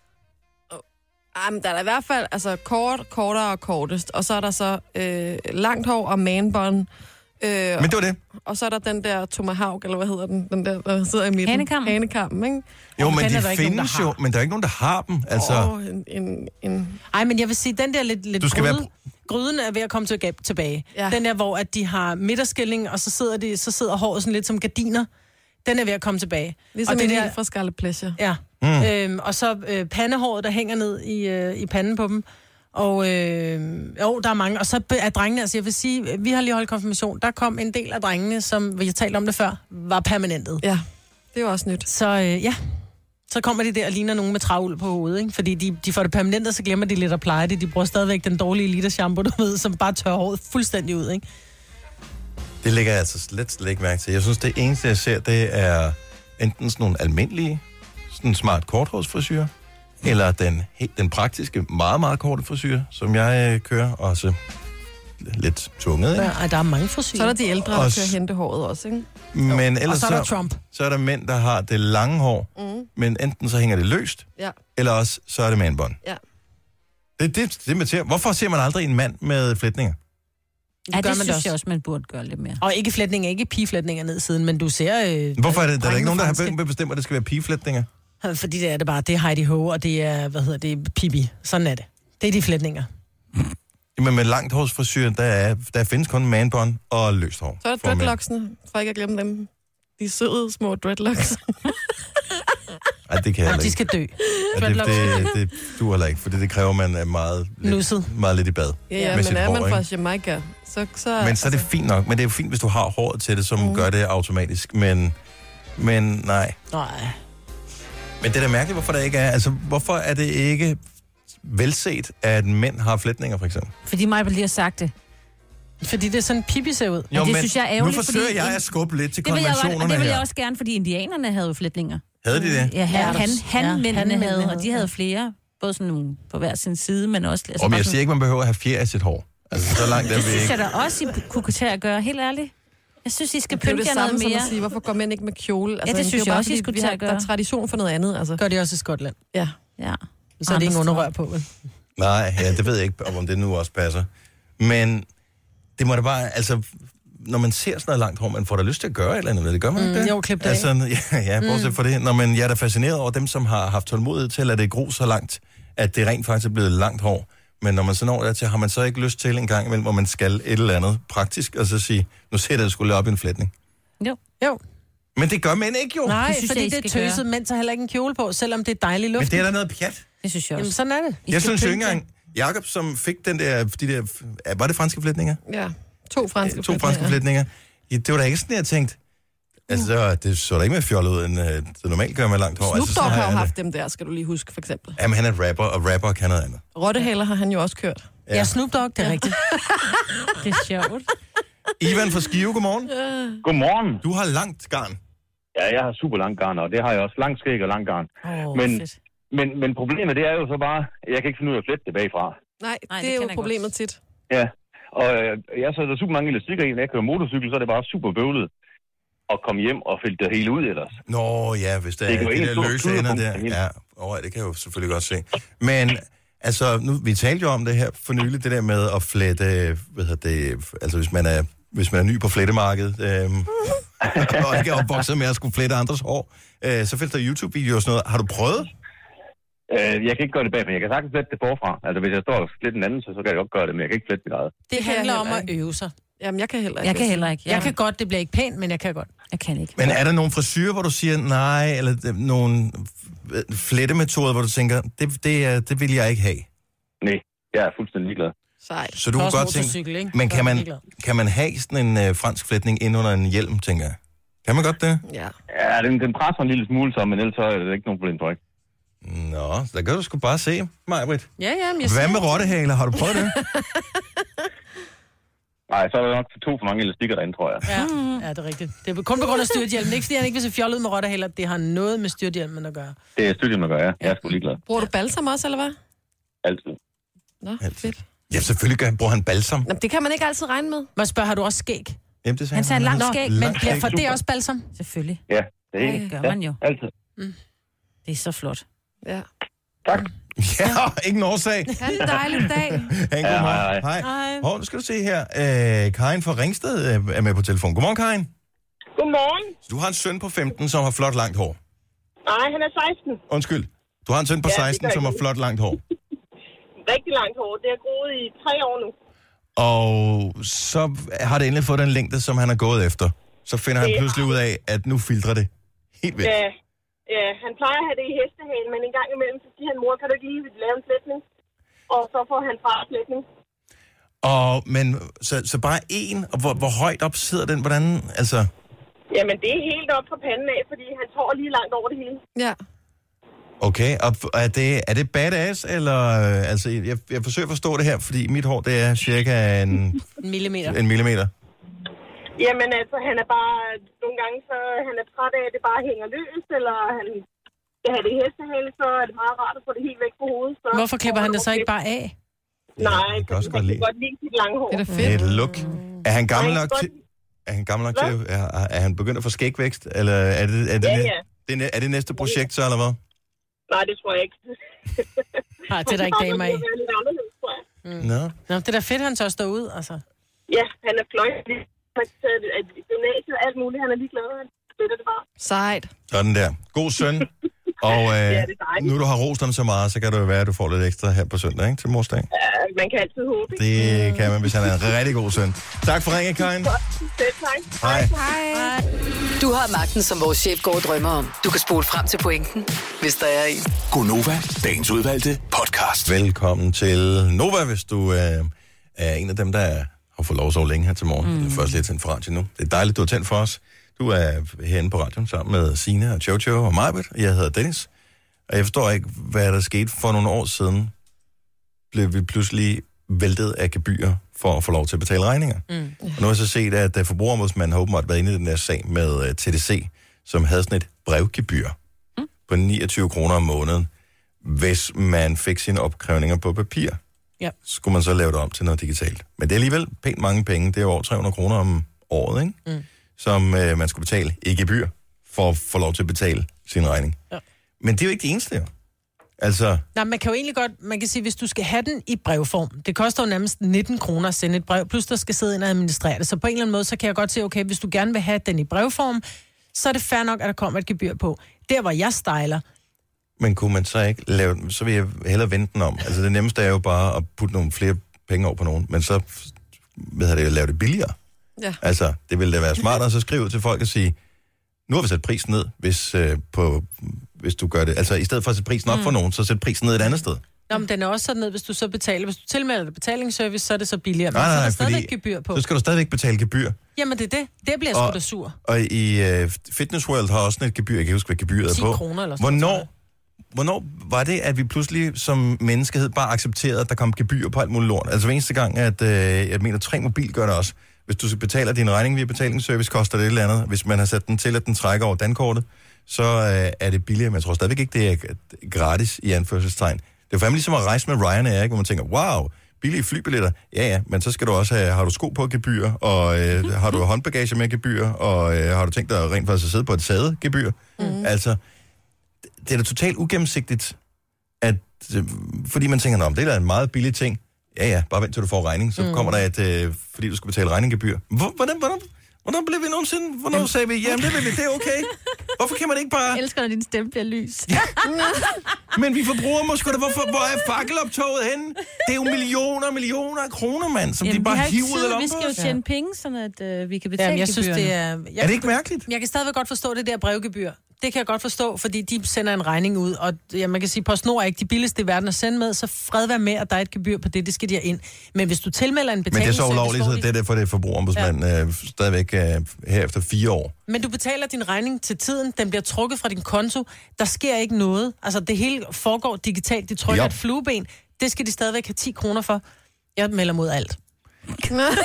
Ah, men der er da i hvert fald altså, kort, kortere og kortest. Og så er der så øh, langt hår og manbånd. Øh,
Men det var det.
Og så er der den der Tomahawk, eller hvad hedder den? Den der, der sidder i midten.
Hanekammen.
Hanekammen, ikke?
Jo,
Og
men
den er
de
der ikke nogen, der
findes
har.
jo, men der er ikke nogen, der har dem. Altså,
Åh,
oh,
en, en, en...
Ej, men jeg vil sige, den der lidt, lidt
Du skal være-
gryde, gryden er ved at komme til gab tilbage. Ja. Den der, hvor at de har midterskilling, og så sidder, de, så sidder håret sådan lidt som gardiner. Den er ved at komme tilbage.
Ligesom
og det
en helt fra Scarlet Pleasure.
Ja.
Mm.
Mm. Øhm, og så øh, pandehåret, der hænger ned i, øh, i panden på dem. Og øh, jo, der er mange. Og så be- er drengene, altså jeg vil sige, vi har lige holdt konfirmation, der kom en del af drengene, som vi har talt om det før, var permanentet.
Ja, det er jo også nyt.
Så øh, ja, så kommer de der og ligner nogen med travl på hovedet, ikke? Fordi de, de får det permanent, og så glemmer de lidt at pleje det. De bruger stadigvæk den dårlige liter shampoo, du ved, som bare tør håret fuldstændig ud, ikke?
det lægger jeg altså slet, slet ikke mærke til. Jeg synes, det eneste, jeg ser, det er enten sådan nogle almindelige, sådan smart korthårsfrisyrer, eller den, helt, den praktiske, meget, meget korte frisyr, som jeg øh, kører, og så lidt tunget, ikke?
Ja, der er mange frisyrer.
Så er der de ældre,
Og
der
s-
kører hentehåret også, ikke?
Men
Og
ellers
så er der Trump.
Så er der mænd, der har det lange hår,
Mm.
men enten så hænger det løst,
Ja.
eller også så er det manbånd.
Ja.
Det, det, det man ser. Hvorfor ser man aldrig en mand med flætninger?
Ja,
gør
det
man
synes
da
jeg
også.
også, man burde gøre lidt mere.
Og ikke flætninger, ikke pigeflætninger ned siden, men du ser... Øh,
Hvorfor er det, der er der ikke nogen, der
drengene
har bestemt, at det skal være pigeflætninger?
franske. Fordi det er det bare, det er Heidi Ho, og det er, hvad hedder det, Pippi. Sådan er det. Det er de flætninger.
Jamen med langt hårsfrisyr, der, er, der findes kun manbånd og løst hår.
Så er der
for mænd.
dreadlocksene, for ikke at glemme dem. De søde små dreadlocks.
Ej, det kan jeg heller
De
ikke.
skal dø.
Ja, det, det, det, du heller ikke, for det kræver, man er meget
Nusset.
lidt, meget lidt i bad.
[LAUGHS] Ja, ja
med
men
sit
er
hår,
man
ikke?
fra Jamaica, så... så
Men så er
altså.
det fint nok. Men det er jo fint, hvis du har håret til det, som
Mhm.
mm. gør det automatisk. Men, men nej.
Nej.
Men det er da mærkeligt, hvorfor det ikke er. Altså, hvorfor er det ikke velset, at mænd har flætninger, for eksempel?
Fordi mig lige har sagt det.
Fordi det er sådan, Pippi ser ud.
Men det synes jeg er ærgerligt,
Nu forsøger
fordi-
jeg at skubbe lidt til
Det vil jeg godt, og
konventionerne
det vil
her.
jeg også gerne, fordi indianerne havde jo flætninger.
Havde de det?
Ja, han, han, han, ja, mændene
hanmændene
havde, og de
havde.
havde flere. Både sådan nogle på hver sin side, men også...
Og men
bare
jeg
sådan-
siger ikke, man behøver at have fjer af sit hår. Altså, så langt
Det
er vi
synes jeg
ikke.
da også, I kunne kunne tage at gøre, helt ærligt. Jeg synes, I skal
Det er jo
pynte
det
jer
samme
noget
som
mere.
at sige, hvorfor går mænd ikke med kjole? Altså,
det
er
synes
jo
jeg
bare,
også, I
fordi
skulle
vi
tage
har-
at gøre.
Der er tradition for noget andet, altså.
Gør det også i Skotland.
Ja.
Ja.
Så er det ingen underrør på, vel?
Nej, ja, det ved jeg ikke, om det nu også passer. Men det må da bare, altså, når man ser sådan noget langt hår, man får da lyst til at gøre et eller andet, ved det gør man
Mm,
ikke det?
jo, klip det af.
altså, ja, [LAUGHS] ja, bortset
Mm.
mm. for det. Nå, men jeg er da fascineret over dem, som har haft tålmodighed til, at det gro så langt, at det rent faktisk er blevet langt hår. Men når man så når dertil, har man så ikke lyst til en gang imellem, hvor man skal et eller andet praktisk, og så sige, nu sætter jeg skulle op i en flætning.
Jo.
Jo.
Men det gør mænd ikke jo.
Nej,
Det synes
fordi
jeg, I
det er
skal
tøset,
gøre.
mænd tager heller ikke en kjole på, selvom det er dejlig luft.
Men det er da noget pjat.
Det synes jeg også.
Jamen, sådan er det.
Jeg synes jo ikke engang, Jakob, som fik den der, de der, var det franske flætninger?
Ja, to franske
to franske flætninger. Ja, det var da ikke sådan, jeg tænkte.
Mm.
Altså, det var- det så da ikke mere fjollet ud, end øh, det normalt gør med langt hår.
Snoop
altså,
Dogg
sådan
har jo
han
haft dem der, skal du lige huske, for eksempel.
det. Jamen, han er rapper, og rapper
[LAUGHS]
kan noget andet.
Rottehaler har han jo også kørt.
Ja. Ja,
Snoop Dogg, det er rigtigt.
det [LAUGHS] er sjovt.
Ivan fra Skive, godmorgen.
Godmorgen.
Du har langt garn.
Ja, jeg har super langt garn, og det har jeg også. Langt skæg og langt garn.
Oh,
men, men, men problemet det er jo så bare, at jeg kan ikke finde ud af at flette det bagfra.
Nej, Nej det, det er jo problemet godt. tit.
Ja, og øh, jeg sætter super mange elastikker i, når jeg kører motorcykel, så er det bare super bøvlet at komme hjem og fælde det hele ud ellers.
Nå ja, hvis der det
Det kan
er
jo
de
ikke stå
der løse
og
ender
klude
der.
på det hele.
Ja, oh, det kan jeg jo selvfølgelig godt se. Men altså, nu, vi talte jo om det her for nylig, det der med at flette, hvad hedder det, altså hvis man er, hvis man er ny på flettemarkedet, øhm, og ikke er opvokset med at skulle flette andres hår, øh, så findes der YouTube-videoer og sådan noget. Har du prøvet?
Øh, jeg kan ikke gøre det bagfra, men jeg kan sagtens flette det forfra. Altså, hvis jeg står og flette den anden, så, så kan jeg godt gøre det, men jeg kan ikke flette mit eget.
Det, det
kan jeg
handler om
heller
at øve sig.
Jamen, jeg kan heller
ikke.
Jeg kan heller
ikke. Jeg, jeg kan godt, det bliver ikke pænt, men jeg kan godt.
Jeg kan ikke.
Men er der nogle frisyrer, hvor du siger nej, eller øh, nogle øh, flettemetoder, hvor du tænker, det, det, er, det vil jeg ikke have?
Nej, jeg er fuldstændig ligeglad.
Sejt.
Så du kan godt tænke, men kan man, kan man have sådan en øh, fransk flætning ind under en hjelm, tænker jeg? Kan man godt det?
Ja.
Ja, den, den presser en lille smule så, men ellers så er det ikke nogen problem, tror jeg ikke.
Nå, så der kan du sgu bare se, Majbrit.
Ja, ja, men jeg
Hvad
siger-
med rottehaler? Har du prøvet det?
Nej, så er der nok to for mange elastikker derinde, tror jeg.
Ja, ja, det er rigtigt. Det er kun på grund af styrthjelmen. Ikke fordi han ikke vil se fjollet ud med rotter heller. Det har noget med styrthjelmen at gøre.
Det er studiet, man gør, ja. Jeg er sgu ligeglad.
Bruger du balsam også, eller hvad?
Altid.
Nå, fedt.
Ja, selvfølgelig gør han, bruger han balsam.
Jamen, det kan man ikke altid regne med.
Man spørger, har du også skæg?
Jamen, det
Han sagde langt skæg, men
Langt
ja, for
skæg.
det er også balsam. Selvfølgelig.
Ja,
det er- Det gør ja, man jo.
Altid.
Det er så flot.
Ja.
Ja, [LAUGHS] ingen årsag.
Ha' en dejlig
[LAUGHS]
dag.
Ha' en
Ja,
god
hej,
morgen.
hej.
Hej. Hov, nu skal du se her. Øh, Karin fra Ringsted øh, er med på telefon. Godmorgen, Karin.
Godmorgen.
Du har en søn på 15, som har flot langt hår.
Nej, han er 16.
Undskyld. Du har en søn på
Ja, det
16,
gør
som har
ikke
flot langt hår.
Rigtig langt hår. Det er groet i tre år nu.
Og så har det endelig fået den længde, som han har gået efter. Så finder han
Det er-
pludselig ud af, at nu filtrer det helt væk.
Ja, ja, han plejer at have det i hestehalen, men en gang imellem, så siger han, mor, kan du ikke lige lave en flætning? Og så får han fra flætning.
Og, men, så, så bare en, og hvor, hvor højt op sidder den? Hvordan, altså...
Jamen, det er helt op fra panden af, fordi han hår er lige langt over det hele.
Ja.
Okay, og f- er det, er det badass, eller... øh, Altså, jeg, jeg forsøger at forstå det her, fordi mit hår, det er cirka
[LAUGHS]
en,
En millimeter.
en millimeter.
Jamen, altså, han er bare... Nogle gange, så han er træt af, at det bare hænger løs, eller han skal have det i hestehale, så er det meget rart at få det helt væk fra hovedet. Så
Hvorfor klipper han det så ikke bare af?
Nej,
kan også
fordi
godt
han
lide.
kan godt lide sit lange hår. Det
Et look. Er han gammel
Nej,
nok
godt.
til... Er han gammel nok til... Er, er- er han begyndt at få skægvækst, eller er det, er det,
Ja,
næ-
ja.
det, næ- er det næste projekt, så, eller hvad?
Nej, det tror jeg ikke.
Nej, Ah, det er der ikke damer i.
[LAUGHS] Han er lidt anderledes, tror jeg.
Nå.
Nå, det er da fedt, han tør stå ud, altså.
Ja, han er fløjt. Han har taget et- gymnasiet og alt muligt. Han er ligeglad. Han støtter det bare.
Sejt.
Sådan der. God søn.
[LAUGHS]
Og øh,
det
ja,
er dejligt.
nu du har rost ham så meget, så kan det jo være, at du får lidt ekstra her på søndag, ikke? Til morsdag.
Ja, man kan altid håbe. ikke?
Det kan man, hvis han er en rigtig god søn. Tak for ringen, Karin.
Selv tak.
Hej.
Hej.
Du har magten, som vores chef går og drømmer om. Du kan spole frem til pointen, hvis der er en.
Gonova, dagens udvalgte podcast. Velkommen til Nova, hvis du øh, er en af dem, der har fået lov så længe her til morgen. Mm. Eller først lidt tændt for radio nu. Det er dejligt, du har tændt for os. Du er herinde på radioen sammen med Sina og Jojo og Majbert, og jeg hedder Dennis. Og jeg forstår ikke, hvad der skete for nogle år siden. Blev vi pludselig væltet af gebyrer for at få lov til at betale regninger.
Mm.
Og nu har jeg så set, at øh, forbrugerombudsmanden har åbenbart været inde i den der sag med øh, TDC, som havde sådan et brevgebyr mm. på 29 kroner om måneden, hvis man fik sine opkrævninger på papir.
Ja.
Skulle man så lave det om til noget digitalt. Men det er alligevel pænt mange penge. Det er jo over 300 kroner om året, ikke?
Mm.
som øh, man skulle betale i gebyr for at få lov til at betale sin regning.
Ja.
Men det er jo ikke det eneste, jo. Altså,
Nej, man kan jo egentlig godt, man kan sige, hvis du skal have den i brevform, det koster jo nærmest 19 kroner at sende et brev, plus der skal sidde ind og administrere det. Så på en eller anden måde, så kan jeg godt se, okay, hvis du gerne vil have den i brevform, så er det fair nok, at der kommer et gebyr på. Der, hvor jeg styler,
men kunne man så ikke lave den- Så vil jeg hellere vente den om. Altså, det nemmeste er jo bare at putte nogle flere penge over på nogen, men så hvad hedder det, lave det billigere.
Ja.
Altså, det ville da være smartere at så skrive ud til folk og sige, nu har vi sat prisen ned, hvis, øh, på, hvis du gør det. Altså, i stedet for at sætte prisen op mm. for nogen, så sæt prisen ned et andet sted.
Nå, men den er også sådan noget, hvis du så betaler, hvis du tilmelder dig betalingsservice, så er det så billigere.
Nej,
så
nej,
er
nej,
der stadigvæk
fordi
gebyr på.
så skal du stadigvæk betale gebyr.
Jamen, det er det. Det bliver jeg sgu da sur.
Og i øh, Fitness World har også sådan et gebyr, jeg kan ikke huske, hvad gebyret er
10
på.
kroner eller sådan noget,
hvornår, hvornår var det, at vi pludselig som menneskehed bare accepterede, at der kom gebyr på alt muligt lort? Altså hver eneste gang, at øh, jeg mener, tre mobil gør det også. Hvis du betaler din regning via betalingsservice, koster det et eller andet. Hvis man har sat den til, at den trækker over dankortet, så øh, er det billigere, men jeg tror stadigvæk ikke, det er g- gratis i anførselstegn. Det er fandme ligesom at rejse med Ryanair, ikke? hvor man tænker, wow, billige flybilletter, ja ja, men så skal du også have, har du sko på gebyr, og øh,
Mhm.
har du håndbagage med gebyr, og øh, har du tænkt dig rent faktisk at sidde på et sæde gebyr?
Mhm.
Mm. Altså, det er da totalt ugennemsigtigt, at, øh, fordi man tænker, Nå, men det er da en meget billig ting. Ja, ja, bare vent til du får regning, så
Mm.
mm. kommer der et, øh, fordi du skal betale regninggebyr. Hvor, hvordan, hvordan, hvordan blev vi nogensinde, hvornår jamen. sagde vi, jamen det, vil vi, det er okay. Hvorfor kan man ikke bare...
Jeg elsker, når din stemme bliver lys.
Men vi forbruger måske da, hvorfor, hvor er fakkeloptoget henne? Det er jo millioner og millioner af kroner, mand, som Jamen, de
vi
bare
har ikke
hiver ud af
tid, Vi
lommen
skal jo tjene penge, sådan at øh, vi kan betale
Jamen, jeg synes, det er... Jeg,
Er det ikke mærkeligt?
Jeg kan stadigvæk godt forstå det der brevgebyr. Det kan jeg godt forstå, fordi de sender en regning ud, og ja, man kan sige, PostNord er ikke de billigste i verden at sende med, så fred være med, at der er et gebyr på det, det skal de have ind. Men hvis du tilmelder en
Men
betaling...
det er så ulovligt, så det er derfor, det er forbrugerombudsmand ja. øh, stadigvæk øh, her efter fire år.
Men du betaler din regning til tiden, den bliver trukket fra din konto, der sker ikke noget. Altså, det hele foregår digitalt, de trykker
Ja.
et flueben, det skal de stadigvæk have 10 kroner for. Jeg melder mod alt.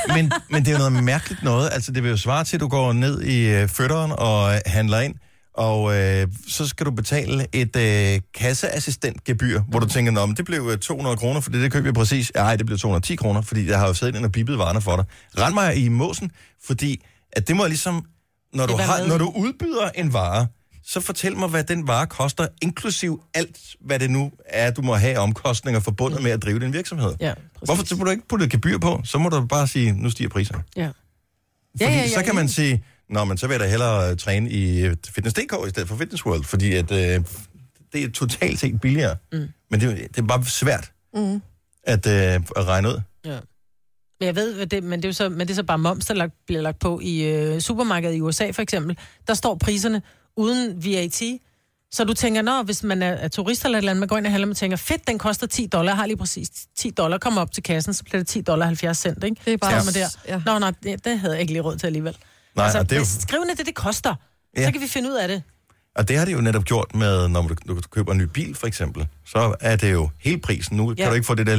Men, men det er jo noget mærkeligt noget. Altså, det vil jo svare til, at du går ned i øh, fødderen og øh, handler ind, og øh, så skal du betale et øh, kasseassistentgebyr, hvor du tænker, Nå, men det blev øh, 200 kroner, fordi det købte jeg præcis. Nej, det blev 210 kroner, fordi jeg har jo siddet ind og bippet varerne for dig. Rend mig i måsen, fordi at det må jeg ligesom, når
Det
du,
er
har,
med.
når du udbyder en vare, så fortæl mig, hvad den vare koster, inklusiv alt, hvad det nu er, du må have af omkostninger forbundet med at drive din virksomhed.
Ja,
Hvorfor så må du ikke putte et gebyr på? Så må du bare sige, nu stiger priserne.
Ja.
Fordi ja, ja, ja, så kan man sige, nå, men så vil jeg da hellere øh, træne i øh, Fitness.dk i stedet for Fitness World, fordi at, øh, det er totalt set billigere. Mm. Men det, er jo- det er bare svært
Mm.
at, øh, at regne ud.
Ja. Men jeg ved, hvad det, men det er jo så, men det er så bare moms, der lagt, bliver lagt på i øh, supermarkedet i USA for eksempel. Der står priserne uden VAT. Så du tænker, når hvis man er, er turist eller et eller andet, man går ind og handler, man tænker, fedt, den koster 10 dollar, jeg har lige præcis 10 dollar, kommer op til kassen, så bliver det 10 dollar 70 cent, ikke? Det er
bare-
så
Ja.
der. Ja. Nå, nej, det, det, havde jeg ikke lige råd til alligevel.
Nej, og det er jo-
men Skriv ned det, det koster. Ja.
Ja.
Så kan vi finde ud af det.
Og det har det jo netop gjort med, når du, du køber en ny bil for eksempel, så er det jo hele prisen. Nu ja.
Ja.
kan du ikke få det der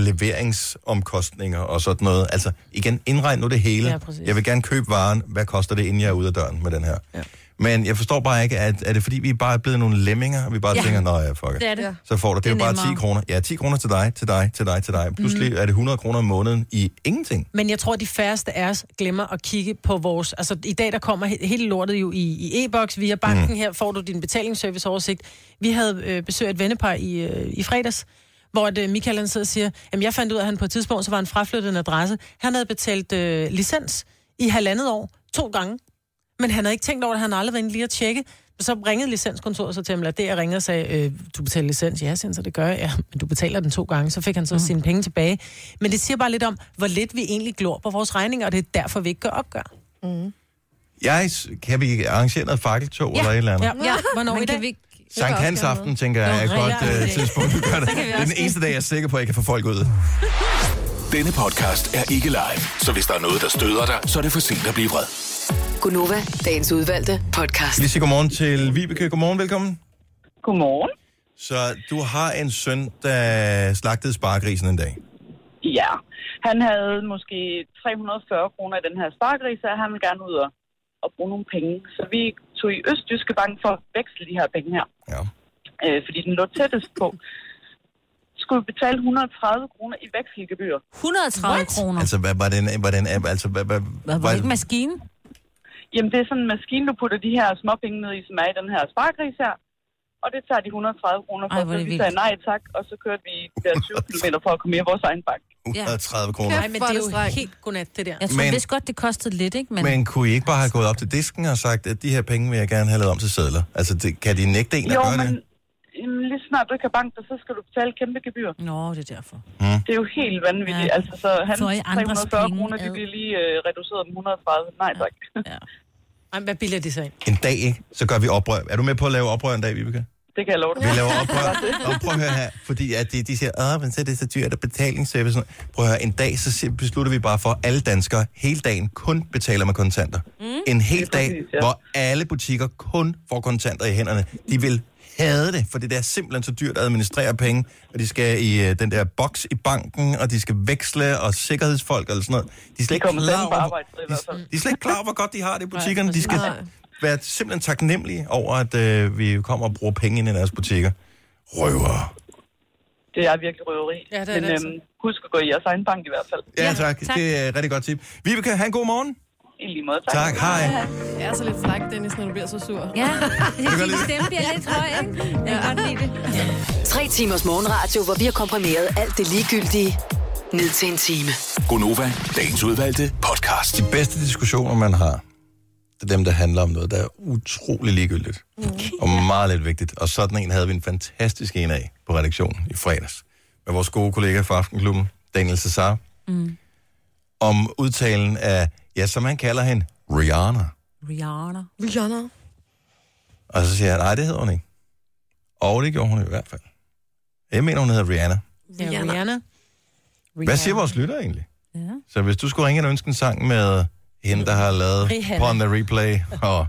leveringsomkostninger og sådan noget. Altså igen, indregn nu det hele.
Ja, præcis.
jeg vil gerne købe varen. Hvad koster det, inden jeg er ude af døren med den her? Ja. Men jeg forstår bare ikke, at er det fordi, vi bare er blevet nogle lemminger, og vi bare
Ja.
ja. tænker, nej, ja, fuck it."
Det er det. Ja.
Så får du, det, det er
Det
jo
er
bare
nemmere.
10 kroner. Ja, 10 kroner til dig, til dig, til dig, til dig. Pludselig
Mhm.
er det 100 kroner om måneden i ingenting.
Men jeg tror, at de færreste af os glemmer at kigge på vores... Altså, i dag der kommer he- hele lortet jo i, i e-boks via banken.
Mm.
Her får du din betalingsserviceoversigt. Vi havde øh, besøg af et vennepar i, øh, i fredags, hvor at, øh, Michael han sidder og siger, jamen jeg fandt ud af, at han på et tidspunkt, så var han fraflyttet en adresse. Han havde betalt øh, licens i halvandet år, to gange. Men han havde ikke tænkt over det, han havde aldrig været inde lige at tjekke. Så ringede licenskontoret så til ham, eller det jeg ringede og sagde, øh, du betaler licens? Ja, siger han, så det gør jeg. Ja, men du betaler den to gange, så fik han så mm. sine penge tilbage. Men det siger bare lidt om, hvor lidt vi egentlig glor på vores regninger, og det er derfor, vi ikke gør opgør. Mm.
Jeg s- kan vi arrangere noget fakkeltog ja. eller et eller andet?
Ja, ja. hvornår i dag? Vi...
Sankt Hans aften, tænker jeg, er et
Nå,
godt
ja,
øh,
okay.
tidspunkt at gøre det.
[LAUGHS] Så kan vi
Det er den
også-
eneste dag, jeg er sikker på, at jeg kan få folk ud.
Denne podcast er ikke live, så hvis der er noget, der støder dig, så er det for sent at blive vred.
Gunova, dagens udvalgte podcast.
Skal lige sige godmorgen til Vibeke. Godmorgen, velkommen.
Godmorgen.
Så du har en søn, der slagtede spargrisen en dag.
Ja, han havde måske 340 kroner i den her sparkris, så han ville gerne ud og, og bruge nogle penge. Så vi tog i Østjyske Bank for at veksle de her penge her.
Ja.
Øh, fordi den lå tættest på. Skulle vi betale 130 kroner i vekselgebyr.
130 What? kroner?
Altså, hvad var den? Hvordan, altså, hvad, hvad,
Hvad, var det ikke maskine?
Jamen, det er sådan en maskine, du putter de her småpenge ned i, som er i den her sparkris her. Og det tager de 130 kroner for.
Ej, hvor er
så
det
vi
vildt.
sagde nej tak, og så kørte vi de der
[LAUGHS]
20 km for at komme i vores egen bank.
130 kroner.
Nej, men det er jo helt godnat, det der.
Jeg tror, Men- vidste
godt, det kostede lidt, ikke?
Men, men kunne I ikke bare have gået op til disken og sagt, at de her penge vil jeg gerne have lavet om til sædler? Altså, det, kan de nægte en at
Jo,
gøre
men
det?
jamen, lige snart du ikke har bank, dig, så skal du betale et kæmpe gebyr.
Nå, det er derfor.
Mm.
Det er jo helt vanvittigt.
Ja.
Ja. Altså, så han
Får I andres
340
penge
kroner, de
ad?
bliver lige øh, reduceret med 130. Nej, tak. [LAUGHS]
Ja.
Ej, hvad bilder de sig ind?
En dag, ikke? Så gør vi oprør. Er du med på at lave oprør en dag, Vibeke?
Det kan jeg love dig.
Vi laver
[LAUGHS]
oprør. Og prøv at høre her, fordi at de, de siger, at men så er det så dyrt at betalingsservice. Prøv at høre, en dag så si- beslutter vi bare for, at alle danskere hele dagen kun betaler med kontanter. Mm. En hel dag, præcis, ja. hvor alle butikker kun får kontanter i hænderne. De vil hade det, for det er simpelthen så dyrt at administrere penge, og de skal i øh, den der boks i banken, og de skal veksle, og sikkerhedsfolk og sådan noget. De er slet ikke klar over, hvor- de, de er slet ikke klar over, hvor godt de har det i butikkerne. De skal være simpelthen taknemmelige over, at øh, vi kommer og bruger penge ind i deres butikker. Røver.
Det er virkelig røveri. Ja,
det er
Men
det altså.
øhm, husk at gå i jeres egen bank i hvert fald.
Ja, tak.
tak.
tak. Det er et rigtig godt tip. Vibeke, have en god morgen.
I lige måde,
tak. Tak, hej.
Jeg er så lidt fræk, Dennis, når du bliver så sur.
[LAUGHS] Ja,
kan godt lide
stemme bliver lidt høj, ikke? Jeg kan godt lide det.
Tre timers morgenradio, hvor vi har komprimeret alt det ligegyldige ned til en time.
Gonova, dagens udvalgte podcast.
De bedste diskussioner, man har, det er dem, der handler om noget, der er utrolig ligegyldigt. Mm. Og meget lidt vigtigt. Og sådan en havde vi en fantastisk en af på redaktionen i fredags. Med vores gode kollega fra Aftenklubben, Daniel Cesar.
Mm.
Om udtalen af, ja, som han kalder hende, Rihanna.
Rihanna.
Rihanna.
Og så siger jeg, nej, det hedder hun ikke. Og det gjorde hun i hvert fald. Jeg mener, hun hedder Rihanna.
Rihanna. Rihanna.
Hvad siger vores lytter egentlig?
Ja.
Så hvis du skulle ringe ind og ønske en sang med hende, der har lavet
Rihanna.
Pon the Replay og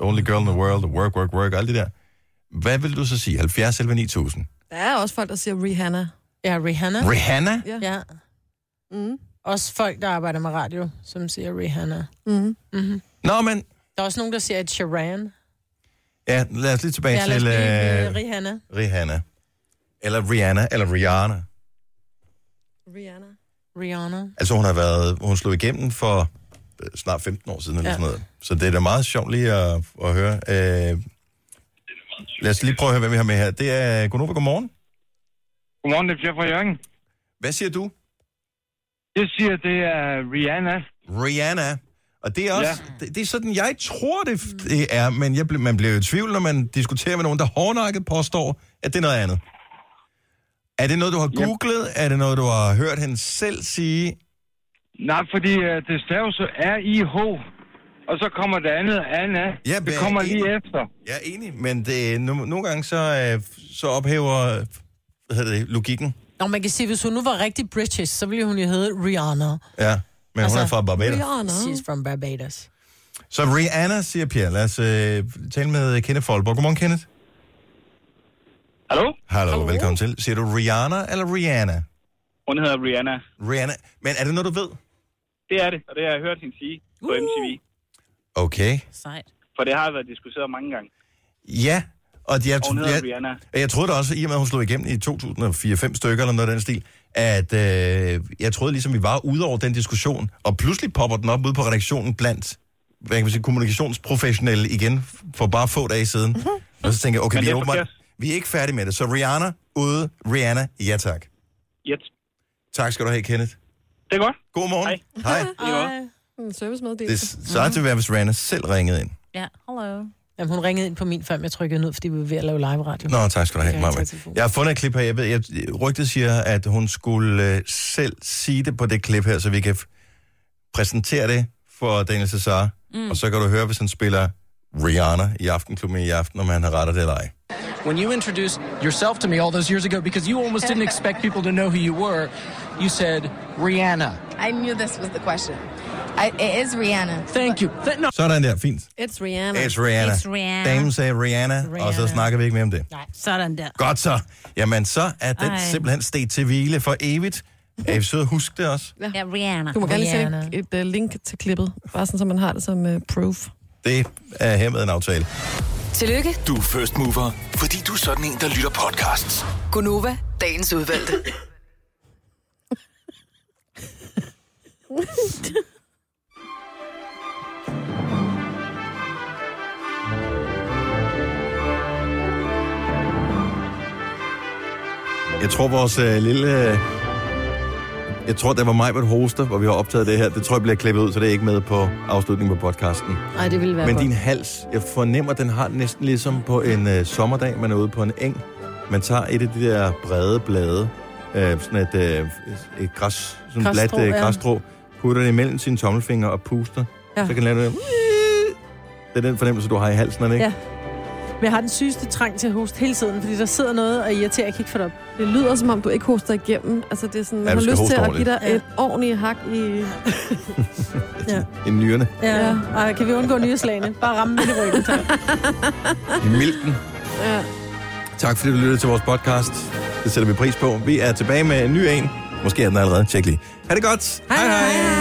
Only Girl in the World, og Work, Work, Work, alt det der. Hvad vil du så sige? 70 eller 9000?
Der er også folk, der siger Rihanna.
Ja, Rihanna.
Rihanna?
Ja.
ja.
Mm.
Også folk, der arbejder med radio, som siger Rihanna.
Mm.
Mm-hmm.
Nå, men...
Der er også nogen, der siger at Sharan.
Ja, lad os lige tilbage
Ja, lad os
til
lige,
øh,
øh, Rihanna.
Rihanna. Eller Rihanna, eller Rihanna.
Rihanna.
Rihanna.
Altså hun har været, hun slog igennem for øh, snart 15 år siden, eller
Ja.
sådan noget. Så det er da meget sjovt lige at, at høre. Øh, lad os lige prøve at høre, hvad vi har med her. Det er Gunova, godmorgen.
Godmorgen, det er Pierre fra Jørgen.
Hvad siger du?
Jeg siger, det
Uh,
er Rihanna.
Rihanna. Og det er også, ja. det, det er sådan, jeg tror, det, f- det er, men jeg, blev- man bliver jo i tvivl, når man diskuterer med nogen, der hårdnakket påstår, at det er noget andet. Er det noget, du har googlet? Er det noget, du har hørt hende selv sige?
Nej, fordi uh, det staves R-I-H, og så kommer det andet, Anna.
Ja,
det
men-
kommer lige efter.
Jeg er enig, men det, no, nogle gange så, øh, så ophæver øh, hvad hedder det, logikken.
Nå, man kan sige, hvis hun nu var rigtig british, så ville hun jo hedde Rihanna.
Ja, men altså, hun er fra Barbados.
She's from Barbados.
Så Rihanna, siger Pierre. Lad os øh, tale med Kenneth Folborg. Godmorgen, Kenneth.
Hallo?
Hallo, velkommen til. Siger du Rihanna eller Rihanna?
Hun hedder Rihanna.
Rihanna. Men er det noget, du ved?
Det er det, og det har jeg hørt hende sige på
Uh.
MTV.
Okay.
Sejt.
For det har været diskuteret mange gange.
Ja, og de, jeg,
Og hun hedder
jeg,
Rihanna.
jeg, jeg troede da også, i og med at hun slog igennem i 2004-5 stykker eller noget af den stil, at øh, jeg troede ligesom, vi var ude over den diskussion, og pludselig popper den op ude på redaktionen blandt hvad kan man sige, kommunikationsprofessionelle igen, for bare få dage siden. Mm-hmm. Og så tænker jeg, okay,
Men
vi
det er
er, åbenbart,
forkert.
vi er ikke færdige med det. Så Rihanna ude, Rihanna, ja tak.
Yes.
Tak skal du have, Kenneth.
Det er godt.
God morgen. Hej. Hej.
Ah.
Ej.
En
Det
servicemeddelelse.
sejt til at være, hvis Rihanna selv ringede ind.
Ja, hello.
Jamen, hun ringede ind på min, før jeg trykkede ned, fordi vi var ved at lave live radio.
Nå, tak skal du
Jeg kan
have,
ikke
Maja.
tage telefonen.
Jeg har fundet et klip her. Jeg ved, jeg, rygtet siger, at hun skulle øh, selv sige det på det klip her, så vi kan f- præsentere det for Daniel Cesar. Mm. Og så kan du høre, hvis han spiller Rihanna i Aftenklubben i aften, om han har rettet det eller ej.
When you introduced yourself to me all those years ago, because you almost didn't expect people to know who you were, you said Rihanna.
I knew this was the question. I, it is Rihanna.
Thank you. Th- no.
Sådan der, fint.
It's Rihanna.
It's Rihanna.
It's Rihanna.
Damen sagde Rihanna, og så
Rihanna.
snakker vi ikke mere om det.
Nej. Sådan der.
Godt så. Jamen, så er den
Ej.
Ej. simpelthen sted til hvile for evigt. Er I søde? Husk det også.
Ja, Rihanna.
Du må gerne lige
Rihanna.
sætte et, et uh, link til klippet, bare sådan, så man har det som uh, proof.
Det er hermed en aftale.
Tillykke,
Du er first mover, fordi du er sådan en, der lytter podcasts.
Gunova, dagens udvalgte.
Jeg tror, vores øh, lille... Øh, jeg tror, der var mig, der hoster, hvor vi har optaget det her. Det tror jeg bliver klippet ud, så det er ikke med på afslutningen på podcasten.
Nej, det ville være
Men
godt.
din hals, jeg fornemmer, den har den næsten ligesom på en øh, sommerdag, man er ude på en eng. Man tager et af de der brede blade, øh, sådan et, øh, et græs, sådan et
Græsstrå,
bladt øh,
ja.
græsstrå, putter det imellem sine tommelfingre og puster.
Ja.
Ja. Så kan den lave det. Det er den fornemmelse, du har i halsen, er det ikke?
Ja.
Men jeg har den sygeste trang til at hoste hele tiden, fordi der sidder noget og irriterer, jeg kan ikke få det op.
Det lyder som om, du ikke hoster igennem. Altså, det er sådan,
Ja,
ja, man
du
har
skal
lyst
hoste
til at give
ordentligt.
dig et ordentligt hak i...
ja.
I nyrene.
ja. Ej, kan vi undgå nyreslagene? Bare ramme midt i ryggen, tak.
I milten.
Ja.
Tak fordi du lyttede til vores podcast. Det sætter vi pris på. Vi er tilbage med en ny en. Måske er den allerede. Tjek lige. Ha' det godt. Hej hej. hej.